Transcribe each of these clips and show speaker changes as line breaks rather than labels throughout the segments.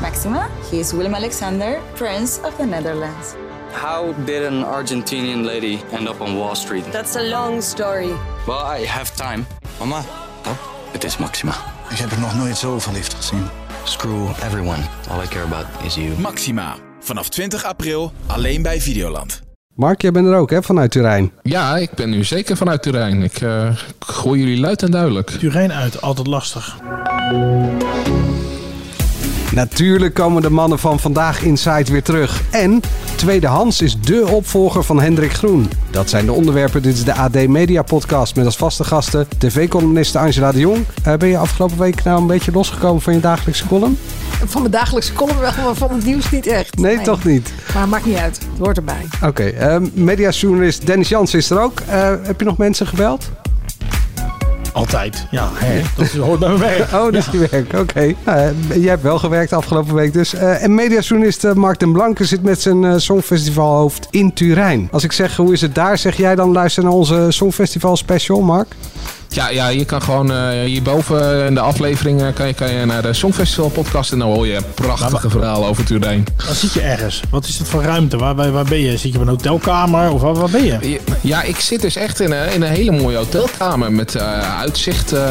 Maxima. He is Willem Alexander, Prince of the Netherlands.
How did an Argentinian lady end up on Wall Street?
That's a long story.
Well, I have time.
Mama,
Het is Maxima.
Ik heb er nog nooit zo verliefd gezien.
Screw everyone. All I care about is you.
Maxima. Vanaf 20 april alleen bij Videoland.
Mark, jij bent er ook, hè, vanuit Turijn.
Ja, ik ben nu zeker vanuit Turijn. Ik eh, ik gooi jullie luid en duidelijk.
Turijn uit, altijd lastig.
Natuurlijk komen de mannen van Vandaag Inside weer terug. En Tweedehands is dé opvolger van Hendrik Groen. Dat zijn de onderwerpen. Dit is de AD Media Podcast met als vaste gasten tv-columniste Angela de Jong. Eh, ben je afgelopen week nou een beetje losgekomen van je dagelijkse column?
Van mijn dagelijkse column wel, maar van het nieuws niet echt.
Nee, toch niet?
Maar maakt niet uit. Het hoort erbij.
Oké, eh, mediajournalist Dennis Jans is er ook. Eh, heb je nog mensen gebeld?
Altijd. Ja, hè? dat hoort bij mijn werk.
Oh, dat is je werk. Oké. Nou, eh, jij hebt wel gewerkt afgelopen week dus. Eh, en mediajournalist eh, Mark den Blanke zit met zijn eh, songfestivalhoofd in Turijn. Als ik zeg hoe is het daar, zeg jij dan luister naar onze songfestival special, Mark?
Ja, ja je kan gewoon eh, hierboven in de aflevering eh, kan je, kan je naar de Songfestival podcast en dan hoor je prachtige verhalen over Turijn.
Dan zit je ergens. Wat is dat voor ruimte? Waar, waar, waar ben je? Zit je op een hotelkamer? Of waar, waar ben je?
Je- Ja, ik zit dus echt in een, in een hele mooie hotelkamer met eh, uitzicht eh,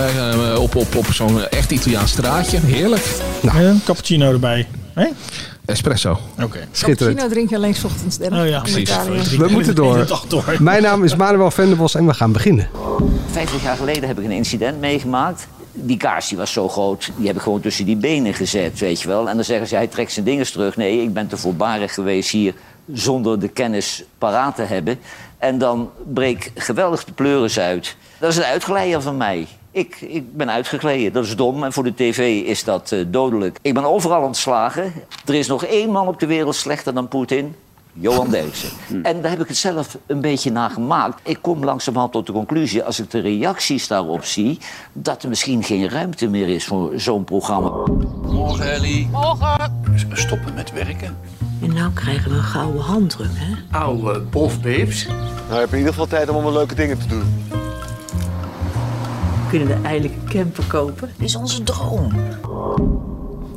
op, op, op zo'n echt Italiaans straatje. Heerlijk.
Eh, Een cappuccino erbij. Hè?
Espresso.
Oké.
Schitterend.
Cappuccino drink je alleen 's ochtends. Dennis.
Oh ja.
In Italië.
We moeten door.
De dag door.
Mijn naam is Manuel Venderbos en we gaan beginnen.
50 jaar geleden heb ik een incident meegemaakt. Die kaars die was zo groot, die heb ik gewoon tussen die benen gezet, weet je wel. En dan zeggen ze, hij trekt zijn dinges terug. Nee, ik ben te voorbarig geweest hier zonder de kennis paraat te hebben. En dan breek geweldig de pleuris uit. Dat is een uitgeleier van mij. Ik, ik ben uitgekleden. Dat is dom en voor de tv is dat eh, dodelijk. Ik ben overal ontslagen. Er is nog één man op de wereld slechter dan Poetin. Johan Derksen. En daar heb ik het zelf een beetje naar gemaakt. Ik kom langzamerhand tot de conclusie, als ik de reacties daarop zie, dat er misschien geen ruimte meer is voor zo'n programma.
Morgen Ellie.
Morgen.
Stoppen met werken.
En nou krijgen we een gouden handdruk, hè?
Oude bofbeeps.
Nou, heb je in ieder geval tijd om allemaal leuke dingen te doen.
Kunnen we eigenlijk camper kopen? Is onze droom.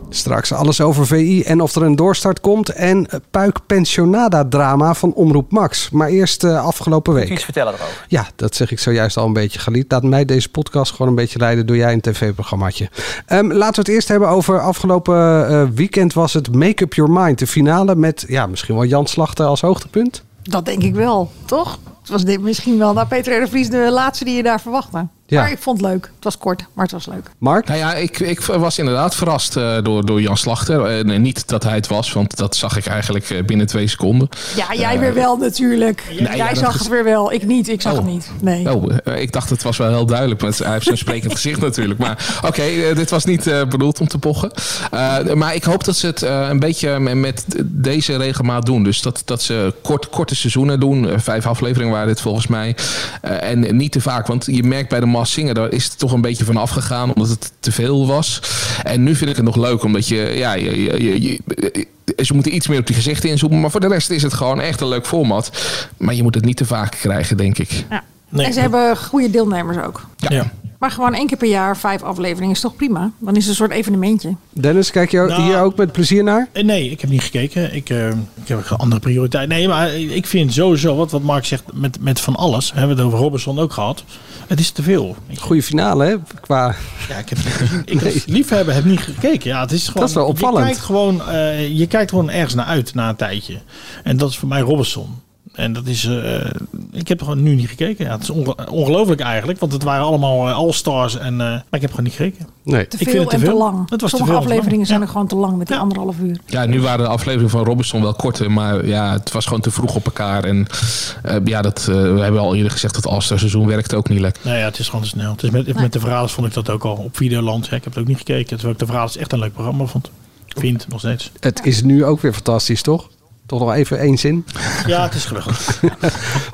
Straks alles over VI en of er een doorstart komt. En eh, Puik Pensionada drama van Omroep Max. Maar eerst eh, afgelopen week.
Iets vertellen erover.
Ja, dat zeg ik zojuist al een beetje, Galit. Laat mij deze podcast gewoon een beetje leiden door jij een tv-programmaatje. Ehm, laten we het eerst hebben over afgelopen eh, weekend was het Make Up Your Mind. De finale met ja, misschien wel Jan Slachter als hoogtepunt.
Dat denk ik wel, toch? Het was dit misschien wel, nou Peter R. de Vries, de laatste die je daar verwachtte.
Ja.
Maar ik vond het leuk. Het was kort, maar het was leuk.
Mark?
Nou ja, ik, ik was inderdaad verrast eh, door, door Jan Slachter. En eh, niet dat hij het was, want dat zag ik eigenlijk eh, binnen twee seconden.
Ja, jij weer wel natuurlijk. jij
ja, dat
zag
is-
het weer wel. Ik niet. Ik zag het niet. Nee.
Oh, eh, ik dacht het was wel heel duidelijk. Want hij heeft zo'n sprekend gezicht natuurlijk. Maar oké, eh, dit was niet eh, bedoeld om te pochen. Eh, maar ik hoop dat ze het eh, een beetje met- met deze regelmaat doen. Dus dat, dat ze kort, korte seizoenen doen. Eh, vijf afleveringen waren dit volgens mij. Eh, en niet te vaak. Want je merkt bij de Maas Singer, daar is het toch een beetje van afgegaan. Omdat het te veel was. En nu vind ik het nog leuk. Omdat je, ja, je, je, je- je- ze moeten iets meer op die gezichten inzoomen. Maar voor de rest is het gewoon echt een leuk format. Maar je moet het niet te vaak krijgen, denk ik.
Ja.
Nee,
en ze hebben goede deelnemers ook.
Ja.
Maar gewoon één keer per jaar, vijf afleveringen is toch prima? Dan is het een soort evenementje.
Dennis, kijk je
Nou.
hier ook met plezier naar?
Eh, Nee, ik heb niet gekeken. Ik, eh, ik heb een andere prioriteit. Nee, maar ik vind sowieso wat, wat Mark zegt met, met van alles. We hebben het over Robinson ook gehad. Het is te veel. Ik,
Goede finale, hè? Qua...
ja, ik heb het niet gezien. Ik als liefhebber heb niet gekeken. Ja, het is gewoon,
Dat is wel opvallend.
Je kijkt, gewoon, eh, je kijkt gewoon ergens naar uit na een tijdje. En dat is voor mij Robinson. En dat is, eh, ik heb er gewoon nu niet gekeken. Ja, het is onge- ongelooflijk eigenlijk, want het waren allemaal eh, all-stars. En, eh, maar ik heb gewoon niet gekeken.
Nee.
Te
vind
veel
het te
en te
veel.
lang.
Het was te
Sommige
veel en te
afleveringen
lang.
zijn
Ja.
er gewoon te lang met die anderhalf uur.
Ja, nu waren de afleveringen van Robinson wel korter, maar ja, het was gewoon te vroeg op elkaar. En eh, ja, dat, eh, we hebben al eerder gezegd dat Alster seizoen werkt ook niet lekker.
Nou ja, het is gewoon te snel. Het is met, met de verhalen vond ik dat ook al op Videoland. Hè. Ik heb het ook niet gekeken. Terwijl ik de verhalen echt een leuk programma vond. Vind nog steeds.
Het is nu ook weer fantastisch, toch? Toch nog even één zin.
Ja, het is gelukkig.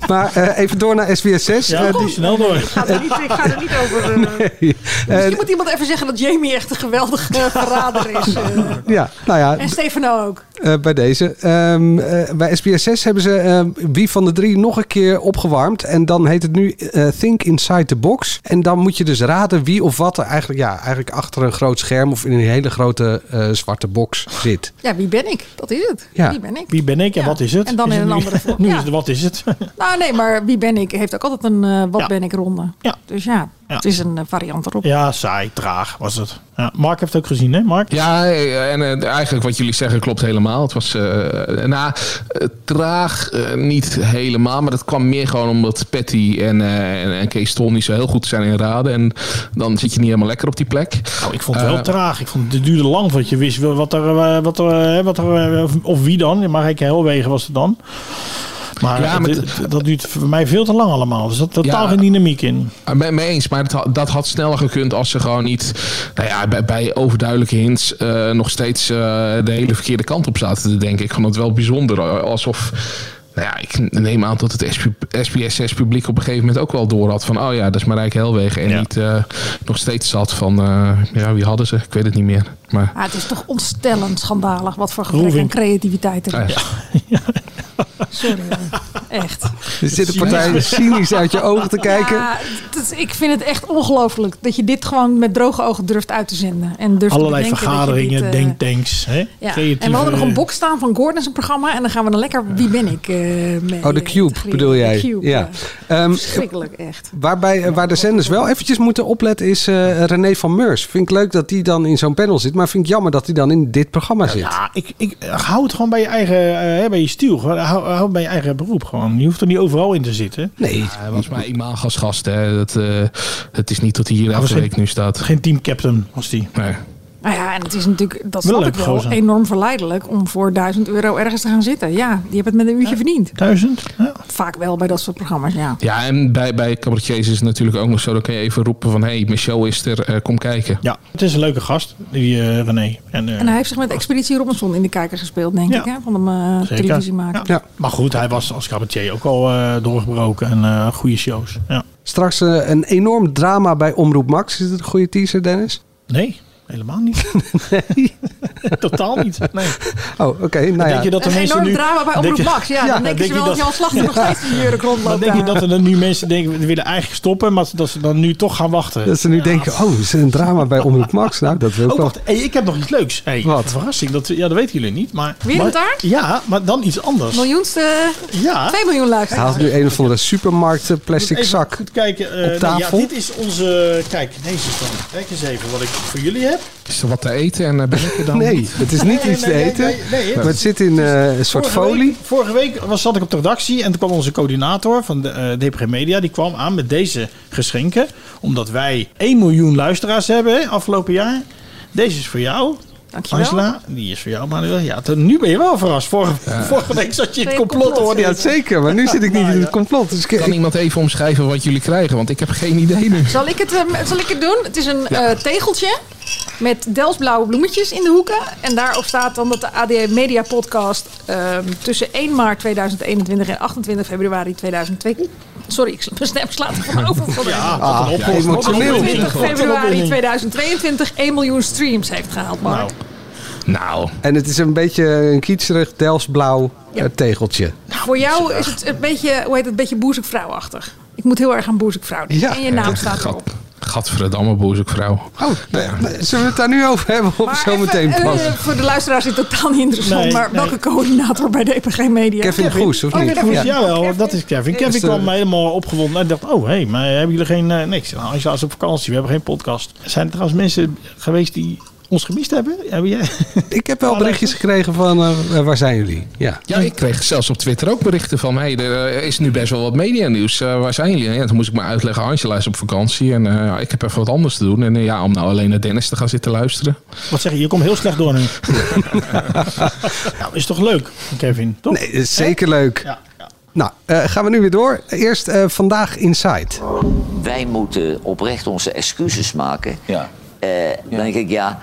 maar eh, even door naar SBS 6.
Ja, die snel door. Ik
ga er niet, ik ga er niet over. eh, Misschien moet iemand even zeggen dat Jamie echt een geweldige eh, verrader is. eh.
ja, nou ja,
En Stefano ook.
eh, bij deze. Ehm, eh, bij SBS 6 hebben ze ehm, wie van de drie nog een keer opgewarmd. En dan heet het nu eh, Think Inside the Box. En dan moet je dus raden wie of wat er eigenlijk, ja, eigenlijk achter een groot scherm of in een hele grote eh, zwarte box zit.
Ja, wie ben ik? Dat is het.
Ja.
Wie ben ik?
Wie ben ik en wat is het?
En dan
Is
in
het
een
nu-
andere vorm.
Nu
Ja.
is het wat is het?
Nou nee, maar wie ben ik heeft ook altijd een eh, wat ben ik ronde.
Ja.
Dus ja,
Ja.
het is een eh, variant erop.
Ja, saai, traag was het. Ja, Mark heeft het ook gezien, hè Mark?
Ja, eh, en eh, eigenlijk wat jullie zeggen klopt helemaal. Het was eh, nou, eh, traag eh, niet helemaal, maar dat kwam meer gewoon omdat Patty en, eh, en, en Kees Tol niet zo heel goed zijn in raden. En dan zit je niet helemaal lekker op die plek.
Nou, ik vond het wel
Eh,
traag. Ik vond het duurde lang voordat je wist wel wat er, eh, wat er, eh, wat er eh, of- of wie dan. Maar ik Helwegen was het dan. Maar,
Ja,
ja,
maar
dat duurt voor mij veel te lang allemaal. Er zat totaal
Ja.
geen dynamiek in.
Dus
Ah, Mee, mee eens, maar dat, had- dat had sneller gekund als ze gewoon niet nou ja, bij, bij overduidelijke hints eh, nog steeds eh, de hele verkeerde kant op zaten te denken. Ik vond het wel bijzonder. eh, Alsof, nou ja, ik neem aan dat het SBS6 publiek op een gegeven moment ook wel door had van, oh ja, dat is Marijke Helwegen. En
Ja.
niet eh, nog steeds zat van, eh, ja, wie hadden ze? Ik weet het niet meer. Maar
Ah, het is toch ontstellend schandalig wat voor gebrek aan
Roelvink.
creativiteit er
Ah,
is.
ja.
Sorry, hoor. echt.
Er zit een partij cynisch uit je ogen te kijken.
Ja, het is- ik vind het echt ongelooflijk dat je dit gewoon met droge ogen durft uit te zenden. En durft te
Allerlei
bedenken dat je
vergaderingen,
dit, eh,
denktanks. Hè?
Ja.
Creatieve-
En we hadden nog een box staan van Gordon's programma. En dan gaan we dan lekker Wie ben ik? eh,
Oh,
mee
de Cube
integreren.
bedoel
De
jij?
Cube,
ja.
ja.
Ehm,
Verschrikkelijk, echt.
Waarbij, eh, waar de zenders wel eventjes moeten opletten is eh, René van Meurs. Vind ik leuk dat die dan in zo'n panel zit, maar vind ik jammer dat hij dan in dit programma zit.
Ja, ik, ik eh, hou het gewoon bij je eigen, eh, bij je stiel. Gewoon, Hou, hou bij je eigen beroep gewoon. Je hoeft er niet overal in te zitten.
Nee,
hij was maar imago als gast. Hè. Dat, eh, het is niet dat hij hier elke
geen-
week nu staat.
Geen teamcaptain was die.
Nee.
Nou ja, en het is natuurlijk, dat
Wel
snap
leuk,
ik wel,
gozer.
enorm verleidelijk om voor 1000 euro ergens te gaan zitten. Ja, je hebt het met een uurtje verdiend.
Duizend? Ja.
Vaak wel bij dat soort programma's, ja.
Ja, en bij, bij cabaretiers is het natuurlijk ook nog zo. Dan kun je even roepen van... hé, hey, mijn show is er, eh, kom kijken.
ja, het is een leuke gast, die eh, René. En, eh,
En hij heeft zich met Expeditie Robinson in de kijker gespeeld, denk
Ja.
ik, hè, van hem eh,
Zeker.
televisie maken.
Ja. Maar goed, hij was als cabaretier ook al eh, doorgebroken en eh, goede shows. Ja.
Straks eh, een enorm drama bij Omroep Max. Is het een goede teaser, Dennis?
Nee, helemaal niet. Totaal niet. Nee.
Oh, oké. nou
denk
ja.
je dat de
Een
mensen
enorm
nu,
drama bij
denk
Omroep
je-
Max. Ja,
Ja,
dan
denk
denken ze
je
wel dat
dat-
Jan Slachter nog steeds in de jurk rondloopt.
Dan denk je
daar.
dat er dan nu mensen denken, we willen eigenlijk stoppen, maar dat ze dan nu toch gaan wachten.
Dat ze nu denken, oh, is er een drama bij Omroep Max? Nou, dat wil ik
Oh,
wel.
wacht. Hey, ik heb nog iets leuks. Hey,
Wat?
Verrassing. Dat, ja, dat weten jullie niet. Maar,
Weer een
maar-
taart?
Ja, maar dan iets anders.
Miljoenste,
Ja.
2 miljoen
Hij
luisteraars.
haalt nu een of andere supermarkt eh,
Moet
plastic
even
zak.
Goed kijken. eh, nou
tafel.
ja, dit is onze... Kijk, deze is dan. Kijk eens even wat ik voor jullie heb.
Is er wat te eten en eh, ben ik er dan?
Nee, het is niet
Nee,
iets te
nee, nee,
eten.
nee, nee, het
Maar het
is-
zit in eh, een soort
Vorige
folie.
Week, vorige week was, zat ik op de redactie en toen kwam onze coördinator van de eh, DPG Media. Die kwam aan met deze geschenken. Omdat wij 1 miljoen luisteraars hebben hè, afgelopen jaar. Deze is voor jou.
Dankjewel.
Angela, die is voor jou, Manuel. Ja, toen- nu ben je wel verrast. Vorige, vorige week zat je in het
Ben je
complot
complot?
hoorde. je
Oh, Ja,
het.
zeker. Maar nu zit ik niet in het complot. Dus ik-
Kan
ik-
iemand even omschrijven wat jullie krijgen? Want ik heb geen idee nu.
Zal ik, het, ehm, zal ik het doen? Het is een eh, tegeltje met Delsblauwe bloemetjes in de hoeken. En daarop staat dan dat de AD Media Podcast ehm, tussen 1 maart 2021 en 28 februari 2002... Sorry, ik sla- mijn snap slaat er van over. Van
Ja,
de-
wat een oplossing.
emotioneel.
Wat een
20
oplossing.
februari 2022 1 miljoen streams heeft gehaald, Mark.
Nou,
Nou,
En het is een beetje een kietserig, delfsblauw
Ja.
eh, tegeltje.
nou,
Voor jou is het een beetje, hoe heet het, een beetje boezekvrouwachtig. Ik moet heel erg aan boezekvrouw denken.
Ja.
en je naam staat
gat,
erop.
gadverdamme boezekvrouw.
Oh, nou ja. zullen we het daar nu over hebben of zo
even,
meteen
eh,
pas?
voor de luisteraars is het totaal niet interessant.
Nee,
maar
nee.
welke coördinator bij DPG Media?
Kevin Goes, of
Oh, ja,
niet?
dat is,
Ja.
jawel, dat is Kevin. Kevin
Is, eh,
kwam helemaal opgewonden en dacht, oh hé, hey, maar hebben jullie geen... eh, niks, nou, Angela is op vakantie, we hebben geen podcast. Zijn er trouwens mensen geweest die ons gemist hebben? hebben jij?
Ik heb
Oh,
wel berichtjes gekregen van eh, eh, waar zijn jullie? Ja.
Ja, ik kreeg zelfs op Twitter ook berichten van... hey, er eh, is nu best wel wat media-nieuws. Eh, waar zijn jullie? Ja, toen moest ik maar uitleggen, Angela is op vakantie... en eh, ik heb even wat anders te doen. En eh, ja, om nou alleen naar Dennis te gaan zitten luisteren.
Wat zeg je, je komt heel slecht door nu. nou, is toch leuk, Kevin, toch?
Nee, is zeker leuk.
Ja, ja.
Nou, eh, gaan we nu weer door. Eerst eh, vandaag Inside.
Wij moeten oprecht onze excuses maken.
Ja.
Eh, Dan denk ik, ja,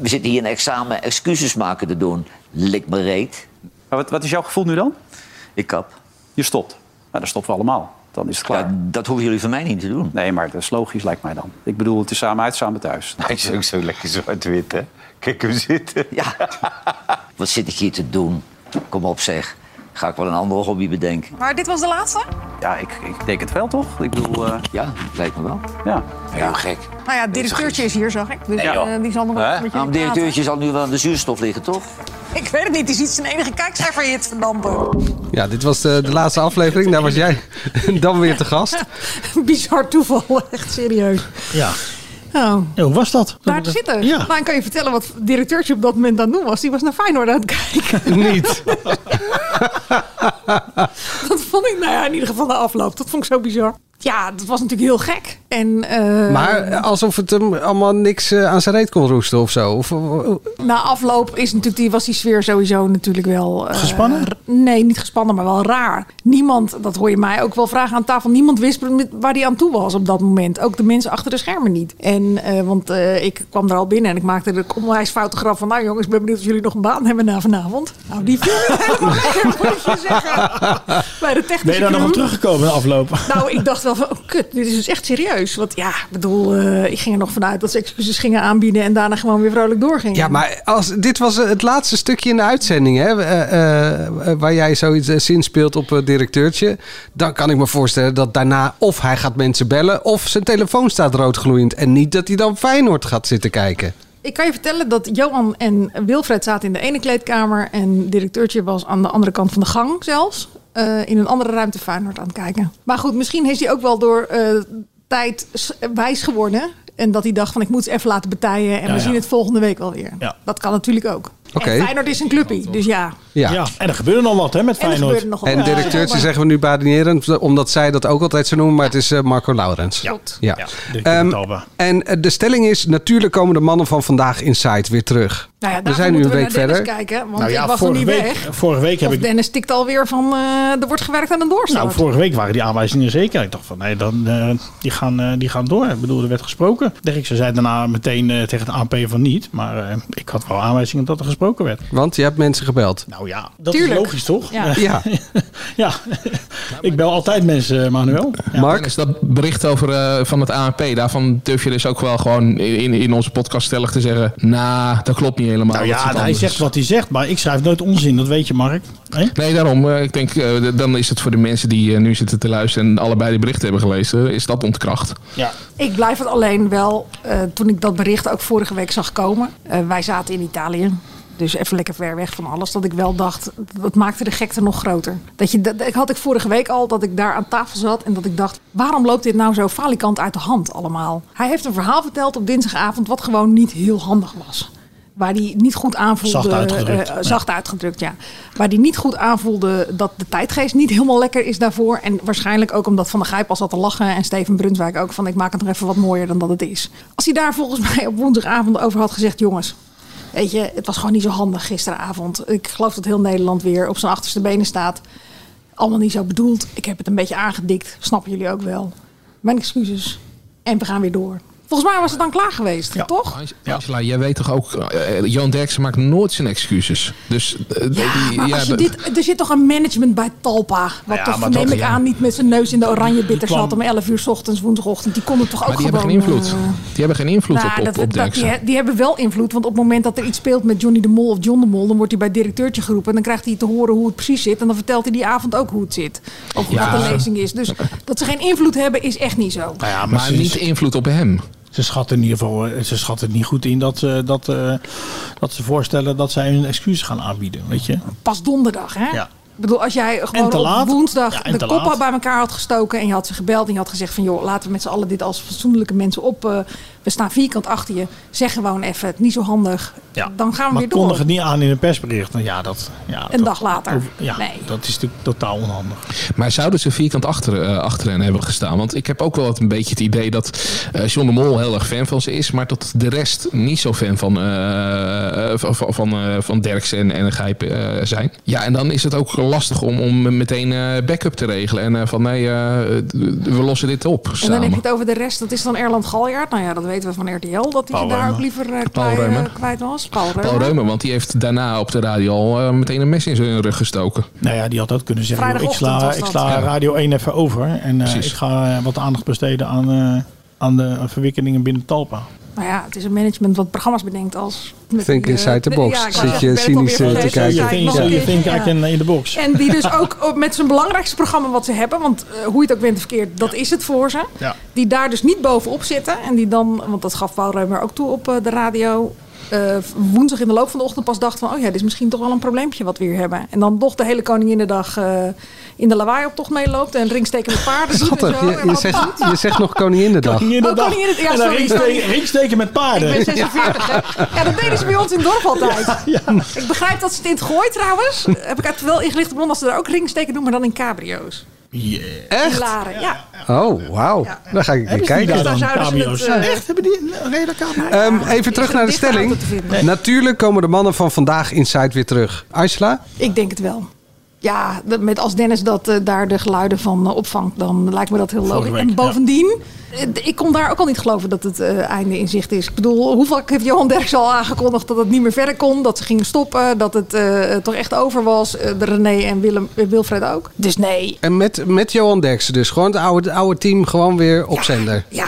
we zitten hier een examen excuses maken te doen. Lik me reet.
Maar wat, wat is jouw gevoel nu dan?
Ik kap.
Je stopt. Nou, dan stoppen we allemaal. Dan is het klaar.
dat hoeven jullie van mij niet te doen.
Nee, maar dat is logisch, lijkt mij dan. Ik bedoel, het is samen uit, samen thuis.
Hij is ook zo lekker zwart-wit, hè? Kijk hem zitten. Ja. Wat zit ik hier te doen? Kom op, zeg. Ga ik wel een andere hobby bedenken?
Maar dit was de laatste? Nou
Ja, Nou, ik, ik denk het wel, toch? Ik bedoel... eh,
Ja, lijkt me wel.
Ja.
Heel gek.
Nou ja, het directeurtje is hier, zag ik. Dus
Nee, joh.
eh, die zal nog wel
Hè?
een beetje
Nou,
in
een
de gaten.
directeurtje zal nu wel aan de zuurstof liggen, toch?
Ik weet het niet, die ziet zijn enige kijkcijferhit van Dampen.
Ja, dit was de, de laatste aflevering. Daar was jij dan weer te gast.
Bizar toeval, echt serieus.
Ja.
Oh.
hoe was dat?
Daar te zitten.
Ja.
Nou, dan kan je vertellen wat directeurtje op dat moment aan het doen was. Die was naar Feyenoord aan het kijken.
Niet.
dat vond ik, nou ja, in ieder geval de afloop. Dat vond ik zo bizar. Ja, dat was natuurlijk heel gek. En, eh,
Maar eh, alsof het hem allemaal niks eh, aan zijn reet kon roesten of zo. Of, eh, of-
Na afloop is natuurlijk die, was die sfeer sowieso natuurlijk wel... eh,
Gespannen?
r- nee, niet gespannen, maar wel raar. Niemand, dat hoor je mij ook wel vragen aan tafel... niemand wist met- waar die aan toe was op dat moment. Ook de mensen achter de schermen niet. En, eh, want eh, ik kwam er al binnen en ik maakte de onwijs foute grap van... nou jongens, ik ben benieuwd of jullie nog een baan hebben na vanavond. Nou, die viel niet helemaal lekker, moet je zeggen. Bij de technische
Ben je daar nog
crew.
op teruggekomen in de afloop?
Nou, ik dacht wel van, oh, kut, dit is dus echt serieus. Want ja, ik bedoel, eh, ik ging er nog vanuit dat ze excuses gingen aanbieden... en daarna gewoon weer vrolijk doorgingen.
Ja, maar als, dit was eh, het laatste stukje in de uitzending, hè, eh, eh, waar jij zoiets eh, zin speelt op het directeurtje. Dan kan ik me voorstellen dat daarna of hij gaat mensen bellen, of zijn telefoon staat roodgloeiend. En niet dat hij dan Feyenoord gaat zitten kijken.
Ik kan je vertellen dat Johan en Wilfred zaten in de ene kleedkamer en directeurtje was aan de andere kant van de gang zelfs. eh, in een andere ruimte Feyenoord aan het kijken. Maar goed, misschien is hij ook wel door eh, tijd s- wijs geworden. En dat hij dacht van ik moet ze even laten betijen
Ja,
en we
ja.
zien het volgende week wel weer. Dat kan natuurlijk ook.
Oké.
En Feyenoord is een clubpie, dus ja.
Ja.
en er gebeurde nog wat hè, met
En er
Feyenoord.
gebeurde nog wat. Nou
En
Ja.
directeurtje zeggen we nu badinerend, omdat zij dat ook altijd zo noemen, maar het is eh, Marco Laurens.
Ja.
ja.
directeur
Ehm,
Talba.
en eh, de stelling is, natuurlijk komen de mannen van vandaag Inside weer terug.
Nou ja,
we
daarvoor
zijn nu een
moeten we
week
naar Dennis
verder.
kijken, want ik was nog
Nou vorige
niet
week,
weg.
Vorige week heb
Of
ik...
Dennis tikt alweer van eh, er wordt gewerkt aan een doorstart.
Nou, vorige week waren die aanwijzingen zeker. Ik dacht van, nee, dan, eh, die, gaan, eh, die gaan door. Ik bedoel, er werd gesproken. Derksen zei daarna meteen eh, tegen het AP van niet. Maar eh, ik had wel aanwijzingen dat er gesproken werd.
Want je hebt mensen gebeld.
Nou ja, dat
Tuurlijk.
is logisch, toch?
Ja. Ja.
Ja. Ik bel altijd mensen, eh, Manuel.
Mark? Dennis, dat bericht over, eh, van het ANP, daarvan durf je dus ook wel gewoon in, in onze podcast stellig te zeggen... Nou, dat klopt niet helemaal.
Nou
dat zit
ja, hij
anders."
zegt wat hij zegt, maar ik schrijf nooit onzin. Dat weet je, Mark.
Nee, daarom. eh, Ik denk, eh, d- dan is het voor de mensen die eh, nu zitten te luisteren... en allebei die berichten hebben gelezen, is dat ontkracht.
Ja.
Ik blijf het alleen wel, eh, toen ik dat bericht ook vorige week zag komen. eh, wij zaten in Italië. Dus even lekker ver weg van alles. Dat ik wel dacht, dat maakte de gekte nog groter. Dat je, dat, dat had ik vorige week al, dat ik daar aan tafel zat. En dat ik dacht, waarom loopt dit nou zo falikant uit de hand allemaal? Hij heeft een verhaal verteld op dinsdagavond wat gewoon niet heel handig was. Waar hij niet goed aanvoelde.
Zacht uitgedrukt.
eh, eh, zacht uitgedrukt, ja. Waar hij niet goed aanvoelde dat de tijdgeest niet helemaal lekker is daarvoor. En waarschijnlijk ook omdat Van der Gijp al zat te lachen. En Steven Brunswijk ook van ik maak het nog even wat mooier dan dat het is. Als hij daar volgens mij op woensdagavond over had gezegd... jongens, weet je, het was gewoon niet zo handig gisteravond. Ik geloof dat heel Nederland weer op zijn achterste benen staat. Allemaal niet zo bedoeld. Ik heb het een beetje aangedikt. Snappen jullie ook wel. Mijn excuses. En we gaan weer door. Volgens mij was het dan klaar geweest, toch?
Angela, jij weet toch ook... eh, Johan Derksen maakt nooit zijn excuses. Dus... eh, die-
Maar
ja,
als je
dat-
dit, er zit toch een management bij Talpa. Wat
Nou ja,
toch,
maar
neem
dat-
ik
ja.
aan, niet met zijn neus in de oranje bitter
kwam-
zat om 11 uur 's ochtends, woensdagochtend. Die konden toch ook
Maar die hebben
gewoon...
geen invloed.
eh,
Die hebben geen invloed
nou,
op, op,
dat-
op
dat-
Derksen.
die, die hebben wel invloed, want op het moment dat er iets speelt met Johnny de Mol of John de Mol, dan wordt hij bij het directeurtje geroepen en dan krijgt hij te horen hoe het precies zit en dan vertelt hij die avond ook hoe het zit. Of
Ja.
wat de lezing is. Dus dat ze geen invloed hebben is echt niet zo.
Nou ja,
maar niet invloed op hem.
Ze schatten in ieder geval eh, ze schatten het niet goed in dat, ze- dat, eh, dat ze voorstellen dat zij hun excuses gaan aanbieden. Weet je?
Pas donderdag, hè?
Ja.
Ik bedoel, als jij
En
gewoon
te
op
laat.
woensdag
Ja, en
de
te
kop al
laat.
bij elkaar had gestoken en je had ze gebeld en je had gezegd van joh, laten we met z'n allen dit als fatsoenlijke mensen op. eh, we staan vierkant achter je. Zeg gewoon even, het is niet zo handig.
Ja.
Dan gaan we
maar
weer
kondig
door.
het niet aan in een persbericht. Nou ja, dat, ja,
Een
dat-
dag later.
Ja,
Nee.
dat is natuurlijk totaal onhandig.
Maar zouden ze vierkant achter, eh, achter hen hebben gestaan? Want ik heb ook wel het- een beetje het idee dat eh, John de Mol heel erg fan van ze is. Maar dat de rest niet zo fan van, eh, van, van, van, eh, van Derksen en, en Gijp eh, zijn. eh, Ja, en dan is het ook gewoon wel lastig om, om meteen eh, backup te regelen. En eh, van nee, eh, we lossen dit op
En dan
samen.
heb je het over de rest. Dat is dan Erland Galjaard. Nou ja, dat weten we van RTL. Dat hij
Paul
daar
Reumer.
ook liever eh,
Paul
klei-
Reumer.
eh, kwijt was. Paul Reumer.
Paul Reumer, want die heeft daarna op de radio al eh, meteen een mes in zijn rug gestoken.
Nou ja, die had ook kunnen zeggen. joh, Ik sla,
Vrijdagochtend
ik
was
sla
dat.
Radio 1 even over. En eh,
Precies.
ik ga eh, wat aandacht besteden aan, eh, aan de verwikkelingen binnen Talpa.
Nou ja, het is een management wat programma's bedenkt als...
Think
die, eh,
inside the
de-
box.
ja, ik
Zit
wou
je
zeggen, ik ben het
cynisch,
alweer
eh, te kijken.
vergeten. Ja, ik
Zo
nog
je
een
think
keertje,
eigenlijk
ja.
in- in de box.
En die dus ook op- met zijn belangrijkste programma wat ze hebben... want eh, hoe je het ook bent of verkeerd, dat is het voor ze.
Ja.
Die daar dus niet bovenop zitten. En die dan, want dat gaf Paul Reumer ook toe op eh, de radio... eh, woensdag in de loop van de ochtend pas dacht van... oh ja, dit is misschien toch wel een probleempje wat we hier hebben. En dan toch de hele Koninginnedag eh in de lawaaioptocht meeloopt... en ringstekende paarden doet en
Schattig,
zo.
je,
En
je,
wat
zegt,
dan?
je zegt nog Koninginnedag.
Koninginnedag.
Oh, Koninginnedag, ja,
en dan
sorry,
ringsteken,
sorry.
ringsteken met paarden.
Ik ben 46, hè? Ja, dat deden ze bij ons in het dorp altijd. Ik begrijp dat ze dit gooit trouwens. Heb ik het wel ingelicht op dat ze daar ook ringsteken doen, maar dan in cabrio's.
Echt?
In laren, ja.
Oh, wauw. Dan ga ik weer kijken.
Echt? Hebben die een reële camera?
Ehm, even terug naar de
Dit verhaal
stelling.
te vinden.
Natuurlijk komen de mannen van vandaag Inside weer terug. Aisla?
Ik denk het wel. Ja, dat- met als Dennis dat, eh, daar de geluiden van eh, opvangt, dan lijkt me dat heel
Volgende
logisch.
week,
en bovendien, eh, d- ik kon daar ook al niet geloven dat het eh, einde in zicht is. Ik bedoel, hoe vaak heeft Johan Derks al aangekondigd dat het niet meer verder kon? Dat ze gingen stoppen, dat het eh, toch echt over was? Eh, de René en Willem, eh, Wilfred ook. Dus nee,
En met, met Johan Derksen dus. Gewoon het oude, het oude team gewoon weer op zender.
ja,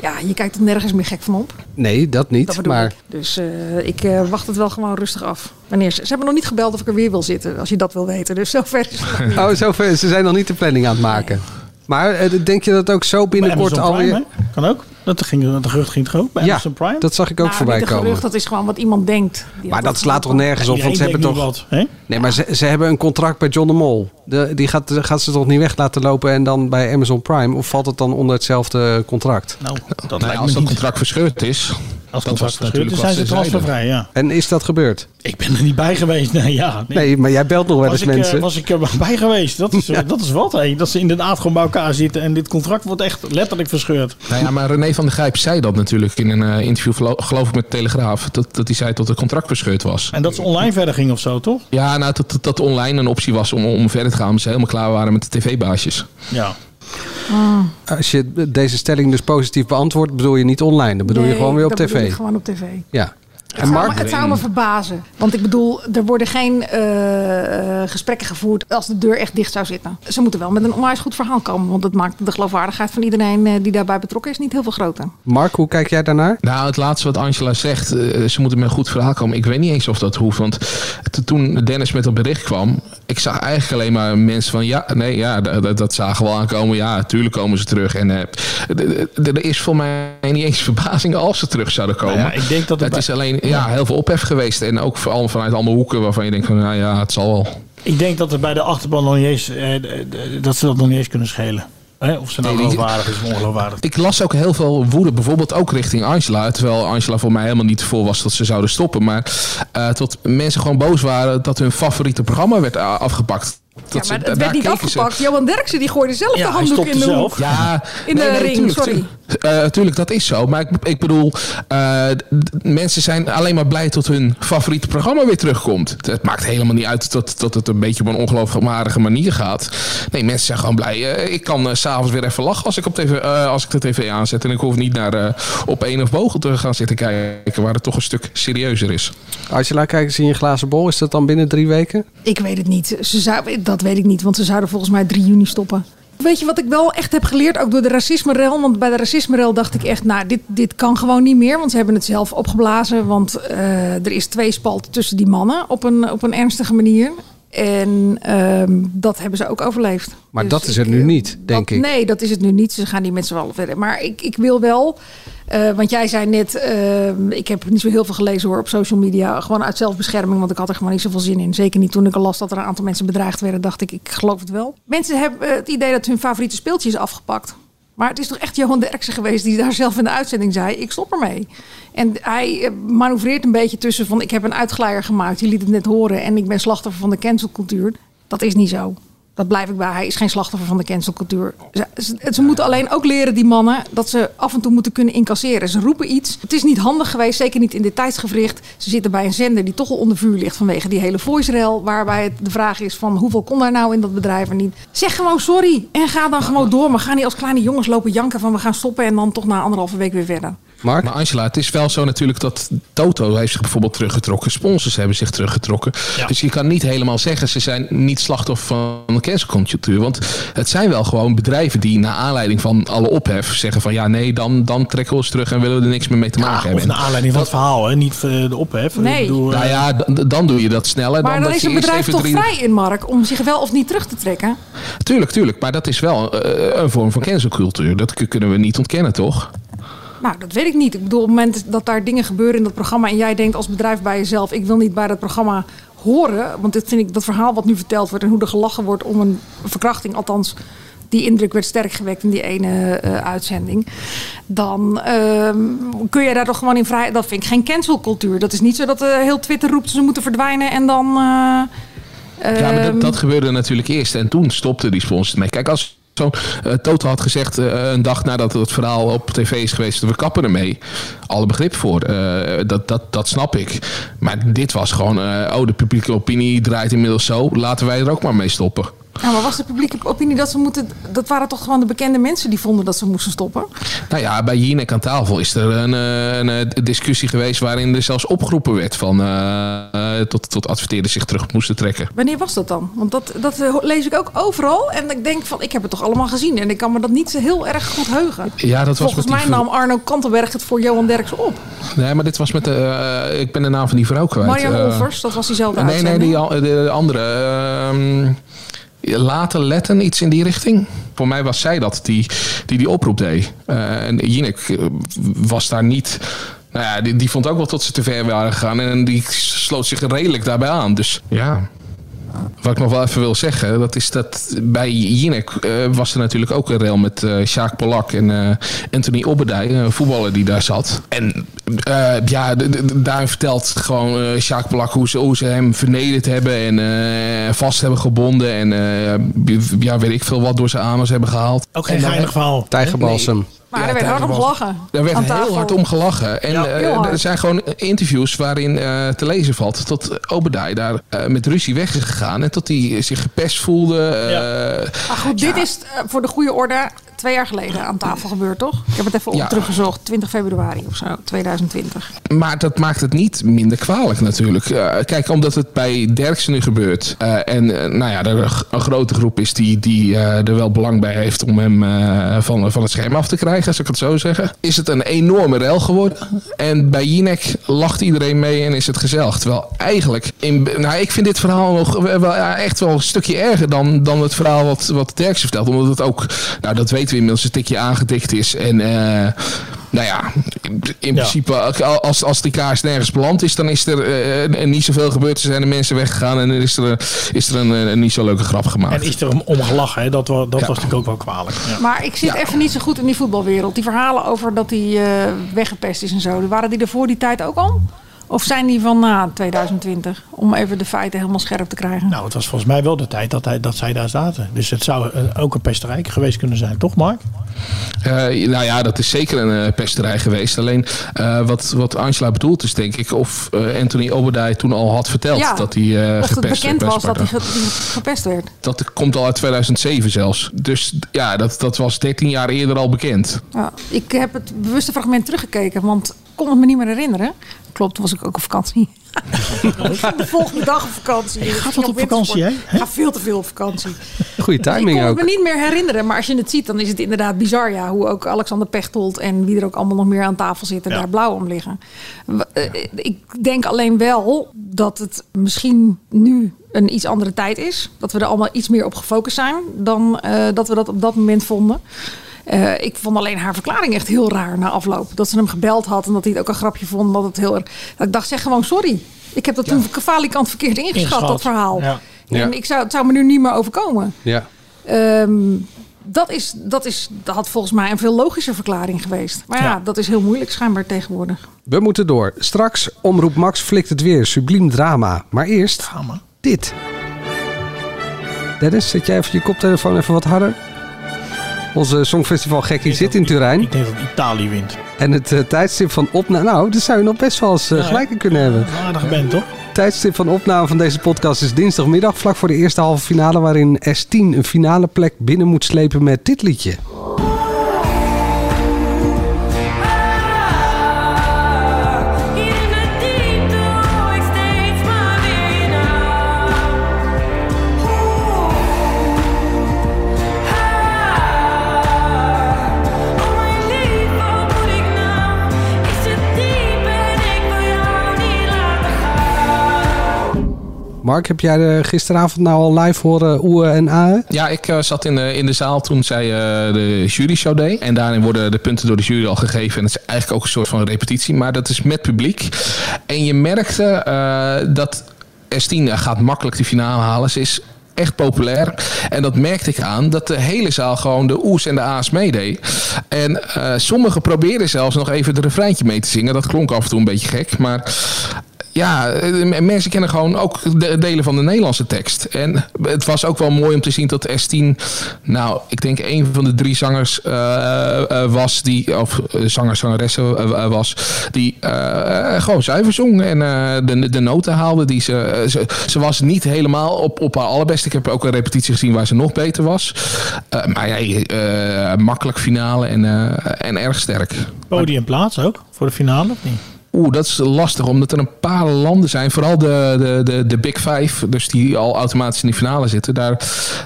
ja, je kijkt er nergens meer gek van op.
Nee, dat
Dat
niet.
bedoel
maar
ik. Dus eh, ik eh, wacht het wel gewoon rustig af. Wanneer ze, ze hebben nog niet gebeld of ik er weer wil zitten, als je dat wil weten. Dus zover is het nog niet.
Oh, zover. Ze zijn nog niet de planning aan het maken. Maar eh, denk je dat ook zo binnenkort
Amazon
alweer...
Prime, hè? Kan ook. Dat, ging, dat gerucht ging toch ook bij
Ja,
Amazon Prime?
dat zag ik ook
Nou,
voorbij
niet een
komen.
gerucht, dat is gewoon wat iemand denkt. Die
Maar
had
dat slaat toch
geroepen.
nergens op, want ze hebben
Iedereen
toch...
denkt nu wat,
nee, maar ze, ze hebben een contract bij John de Mol. De, die gaat, gaat ze toch niet weg laten lopen en dan bij Amazon Prime? Of valt het dan onder hetzelfde contract?
Nou, dat
Nou,
lijkt
als
me
dat
niet.
contract verscheurd
Als
is, dat was
contract
natuurlijk
natuurlijk
wat
zijn ze
zeiden.
transfervrij, ja.
En is dat gebeurd?
Ik ben er niet bij geweest, nee, ja.
Nee, maar jij belt nog wel eens
was ik, eh,
mensen.
was ik er bij geweest. Dat is, eh, dat is wat, hé. Dat ze inderdaad gewoon bij elkaar zitten en dit contract wordt echt letterlijk verscheurd.
Nou ja, maar René van der Grijp zei dat natuurlijk in een eh, interview, gelo- geloof ik, met Telegraaf. Dat, dat hij zei dat het contract verscheurd was.
En dat ze online verder ging of zo, toch?
Ja, nou, dat, dat, dat online een optie was om, om verder te gaan. Omdat ze helemaal klaar waren met de tv-baasjes.
Ja.
Als je deze stelling dus positief beantwoordt, bedoel je niet online. Dan bedoel je
Nee,
gewoon weer op
dat bedoel
tv.
ik gewoon op tv.
Ja.
Het, zou me, het zou me verbazen. Want ik bedoel, er worden geen eh, eh, gesprekken gevoerd als de deur echt dicht zou zitten. Ze moeten wel met een onwijs goed verhaal komen. Want dat maakt de geloofwaardigheid van iedereen eh, die daarbij betrokken is niet heel veel groter.
Mark, hoe kijk jij daarnaar?
Nou, het laatste wat Angela zegt, eh, ze moeten met een goed verhaal komen. Ik weet niet eens of dat hoeft. Want t- toen Dennis met dat bericht kwam, ik zag eigenlijk alleen maar mensen van ja, nee, ja, d- d- dat zagen we al aankomen. Ja, tuurlijk komen ze terug. En eh, d- d- d- er is voor mij niet eens verbazing als ze terug zouden komen.
Nou ja, ik denk dat het
het
bij-
is alleen ja, heel veel ophef geweest. En ook vooral vanuit allemaal hoeken waarvan je denkt van nou ja, het zal wel.
Ik denk dat er bij de achterban nog niet eens, eh, d- d- dat ze dat nog niet eens kunnen schelen. Hè? Of ze nou
Nee, die-
geloofwaardig is of ongeloofwaardig.
Ik las ook heel veel woede, bijvoorbeeld ook richting Angela. Terwijl Angela voor mij helemaal niet voor was dat ze zouden stoppen. Maar eh tot mensen gewoon boos waren dat hun favoriete programma werd a- afgepakt. Dat
Ja,
ze-
maar
da-
het
daar
werd niet
keken ze-
afgepakt. Johan Derksen die gooide zelf
Ja,
de
hij
handdoek in
stopte
de
zelf.
hoek.
Ja,
in
nee,
de
nee,
ring,
tuurlijk,
sorry.
tuurlijk. Eh, tuurlijk, dat is zo. Maar ik, ik bedoel, eh, d- d- mensen zijn alleen maar blij dat hun favoriete programma weer terugkomt. Het maakt helemaal niet uit dat, dat het een beetje op een ongeloofwaardige manier gaat. Nee, mensen zijn gewoon blij. Eh, ik kan eh, s s'avonds weer even lachen als ik, op TV, eh, als ik de tv aanzet. En ik hoef niet naar eh, op één of bogen te gaan zitten kijken, waar het toch een stuk serieuzer is.
Als je laat kijken in je glazen bol, is dat dan binnen drie weken?
Ik weet het niet. Ze zou, dat weet ik niet, want ze zouden volgens mij 3 juni stoppen. Weet je wat ik wel echt heb geleerd, ook door de racisme-rel? Want bij de racisme-rel dacht ik echt, nou, dit, dit kan gewoon niet meer. Want ze hebben het zelf opgeblazen. Want eh, er is twee spalten tussen die mannen op een, op een ernstige manier. En ehm, dat hebben ze ook overleefd.
Maar
Dus
dat is er nu niet, denk ik.
Nee, dat is het nu niet. Ze gaan die met z'n allen verder. Maar ik, ik wil wel, eh, want jij zei net, eh, ik heb niet zo heel veel gelezen hoor op social media. Gewoon uit zelfbescherming, want ik had er gewoon niet zoveel zin in. Zeker niet toen ik al las dat er een aantal mensen bedreigd werden, dacht ik, ik geloof het wel. Mensen hebben eh, het idee dat hun favoriete speeltje is afgepakt. Maar het is toch echt Johan Derksen geweest die daar zelf in de uitzending zei: ik stop ermee. En hij eh, manoeuvreert een beetje tussen van: ik heb een uitglijer gemaakt, je liet het net horen en ik ben slachtoffer van de cancelcultuur. Dat is niet zo. Dat blijf ik bij. Hij is geen slachtoffer van de cancelcultuur.
Oh.
Ze, ze- ze moeten alleen ook leren, die mannen, dat ze af en toe moeten kunnen incasseren. Ze roepen iets. Het is niet handig geweest, zeker niet in dit tijdsgevricht. Ze zitten bij een zender die toch al onder vuur ligt vanwege die hele voice-rail. Waarbij het de vraag is van hoeveel kon daar nou in dat bedrijf en niet. Zeg gewoon sorry en ga dan gewoon door. Maar ga niet als kleine jongens lopen janken van we gaan stoppen en dan toch na anderhalve week weer verder.
Maar Angela, het is wel zo natuurlijk dat Toto heeft zich bijvoorbeeld teruggetrokken. Sponsors hebben zich teruggetrokken. Dus je kan niet helemaal zeggen ze zijn niet slachtoffer van de cancelcultuur. Want het zijn wel gewoon bedrijven die naar aanleiding van alle ophef zeggen van ja nee, dan, dan trekken we ons terug en willen we er niks meer mee te maken hebben.
Of naar aanleiding van het verhaal, hè? niet eh, de ophef. eh,
Nee.
Nou ja, d- d- dan doe je dat sneller.
Maar
dan,
dan
dat
is
je
een
eerst
bedrijf
even
toch
drie-
vrij in, Mark, om zich wel of niet terug te trekken.
Tuurlijk, tuurlijk. Maar dat is wel eh, een vorm van cancelcultuur. Dat k- kunnen we niet ontkennen, toch?
Nou, dat weet ik niet. Ik bedoel, op het moment dat daar dingen gebeuren in dat programma en jij denkt als bedrijf bij jezelf, ik wil niet bij dat programma horen, want dit vind ik dat verhaal wat nu verteld wordt en hoe er gelachen wordt om een verkrachting, althans die indruk werd sterk gewekt in die ene eh, uitzending. Dan ehm, kun je daar toch gewoon in vrij. Dat vind ik geen cancelcultuur. Dat is niet zo dat eh, heel Twitter roept ze moeten verdwijnen en dan. eh,
ja, maar
ehm,
dat, dat gebeurde natuurlijk eerst. En toen stopte die sponsor ermee. Kijk, als zo'n eh Toto had gezegd eh, een dag nadat het verhaal op tv is geweest... we kappen ermee. Alle begrip voor. Eh, dat, dat, dat snap ik. Maar dit was gewoon... eh, oh, de publieke opinie draait inmiddels zo. Laten wij er ook maar mee stoppen.
nou, maar was de publieke opinie dat ze moeten. Dat waren toch gewoon de bekende mensen die vonden dat ze moesten stoppen?
Nou ja, bij Jinek aan tafel is er een, eh, een, eh, discussie geweest... waarin er zelfs opgeroepen werd van... eh, eh, tot, tot adverteerders zich terug moesten trekken.
Wanneer was dat dan? Want dat, dat eh, lees ik ook overal. En ik denk van, ik heb het toch allemaal gezien. En ik kan me dat niet zo heel erg goed heugen.
Ja, dat was
Volgens
met die
mij
ver-
nam Arno Kantenberg het voor Johan Derksen op.
Nee, maar dit was met de... eh, ik ben de naam van die vrouw kwijt.
Marian
Eh,
Olvers, dat was diezelfde
nee, nee,
uitzending.
die al- de andere. ehm, laten letten, iets in die richting. Voor mij was zij dat die die, die oproep deed. Eh, en Jinek eh, was daar niet. Nou ja, die, die vond ook wel tot ze te ver waren gegaan. En die sloot zich redelijk daarbij aan. Dus ja. Wat ik nog wel even wil zeggen, dat is dat bij Jinek eh, was er natuurlijk ook een rail met eh Sjaak Polak en eh, Anthony Obbedij, een voetballer die daar zat. En eh, ja, d- d- daarin vertelt gewoon eh Sjaak Polak hoe ze, hoe ze hem vernederd hebben en eh, vast hebben gebonden. En eh, ja, weet ik veel wat door zijn anus hebben gehaald.
Ook geen geinig verhaal.
Tijgerbalsem.
Maar er werd hard om gelachen.
Daar werd
Aan
heel
tafel.
hard om gelachen. En eh,
heel hard.
er zijn gewoon interviews waarin eh, te lezen valt dat Obadiah daar eh, met ruzie weg is gegaan. En dat hij zich gepest voelde. eh,
Maar goed, dit is eh, voor de goede orde twee jaar geleden aan tafel gebeurd, toch? Ik heb het even op
Ja.
teruggezocht. 20 februari of zo, 2020.
Maar dat maakt het niet minder kwalijk natuurlijk. Eh, kijk, omdat het bij Derksen nu gebeurt. eh, en eh, nou ja, er een g- een grote groep is die, die eh, er wel belang bij heeft om hem eh, van, van het scherm af te krijgen, als ik het zo zeggen. Is het een enorme rel geworden. En bij Jinek lacht iedereen mee en is het gezellig. Terwijl eigenlijk, in, nou ik vind dit verhaal nog wel, wel- ja, echt wel een stukje erger dan, dan het verhaal wat, wat Derksen vertelt. Omdat het ook, nou dat weten we inmiddels, een tikje aangedikt is. En eh, nou ja, in in principe, als, als die kaars nergens beland is, dan is er eh, niet zoveel gebeurd. Er zijn de mensen weggegaan en er is er, een- is er een, eh, niet zo leuke grap gemaakt.
En is er om- om gelachen, hè? dat, wa- dat was natuurlijk ook wel kwalijk. Ja.
Maar ik zit even niet zo goed in die voetbalwereld. Die verhalen over dat hij eh, weggepest is en zo, waren die er voor die tijd ook al? Of zijn die van na 2020? Om even de feiten helemaal scherp te krijgen.
Nou, het was volgens mij wel de tijd dat, hij, dat zij daar zaten. Dus het zou eh, ook een pesterij geweest kunnen zijn, toch Mark?
Eh, nou ja, dat is zeker een eh, pesterij geweest. Alleen eh, wat, wat Angela bedoelt is denk ik of eh, Anthony Obadai toen al had verteld
Ja,
dat hij eh,
of het
gepest werd
bekend
bij
was dat hij
Sparta.
ge- die gepest werd.
Dat komt al uit 2007 zelfs. Dus ja, dat, dat was 13 jaar eerder al bekend.
Ja, ik heb het bewuste fragment teruggekeken, want ik kon het me niet meer herinneren. Klopt, was ik ook op vakantie. de volgende dag op vakantie.
Je
Ik
gaat
ging
wat op vakantie,
wintersport. Ik ga veel te veel op vakantie.
Goede
ik
timing
kon
ook.
het me niet meer herinneren, maar als je het ziet, dan is het inderdaad bizar. Ja, hoe ook Alexander Pechtold en wie er ook allemaal nog meer aan tafel zitten, daar blauw om liggen. W- eh, Ik denk alleen wel dat het misschien nu een iets andere tijd is. Dat we er allemaal iets meer op gefocust zijn dan eh, dat we dat op dat moment vonden. Eh, ik vond alleen haar verklaring echt heel raar na afloop. Dat ze hem gebeld had en dat hij het ook een grapje vond. Dat, het heel erg, dat ik dacht, zeg gewoon sorry. Ik heb dat toen falikant verkeerd ingeschat,
Ingeschat,
dat verhaal.
ja.
Ja.
En ik zou, het zou me nu niet meer overkomen.
Ja.
Ehm, dat, is, dat, is, dat had volgens mij een veel logischer verklaring geweest. Maar ja, dat is heel moeilijk schijnbaar tegenwoordig.
We moeten door. Straks omroep Max flikt het weer. Subliem drama. Maar eerst dit. Dennis, zet jij even je koptelefoon even wat harder? Onze Songfestival Gekkie zit in Turijn. Ik
denk dat Italië wint.
En het eh, tijdstip van opname... Nou, daar zou je nog best wel eens eh,
Ja, hè?
gelijk in kunnen hebben.
Aardig bent, toch?
Tijdstip van opname van deze podcast is dinsdagmiddag... vlak voor de eerste halve finale... waarin S10 een finale plek binnen moet slepen met dit liedje.
nou-
Mark, heb jij eh, gisteravond nou al live horen oe en ae?
Ja, ik eh, zat in de, in de zaal toen zij eh, de jury show deed. En daarin worden de punten door de jury al gegeven. En het is eigenlijk ook een soort van repetitie. Maar dat is met publiek. En je merkte eh, dat Estina gaat makkelijk die finale halen. Ze is echt populair. En dat merkte ik aan dat de hele zaal gewoon de oes en de a's meedeed. En eh, sommigen probeerden zelfs nog even het refreintje mee te zingen. Dat klonk af en toe een beetje gek. Maar ja, eh, mensen kennen gewoon ook de delen van de Nederlandse tekst. En het was ook wel mooi om te zien dat S10, nou, ik denk een van de drie zangers eh, eh, was die, of eh, zangers, zangeressen eh, eh, was, die eh, eh, gewoon zuiver zong en eh, de, de noten haalde die ze, eh, ze. Ze was niet helemaal op, op haar allerbest. Ik heb ook een repetitie gezien waar ze nog beter was. Eh, maar ja, eh, makkelijk finale en, eh, en erg sterk.
Podiumplaats ook? Voor de finale of niet?
Oeh, dat is lastig, omdat er een paar landen zijn, vooral de, de, de, de Big Five, dus die al automatisch in de finale zitten. Daar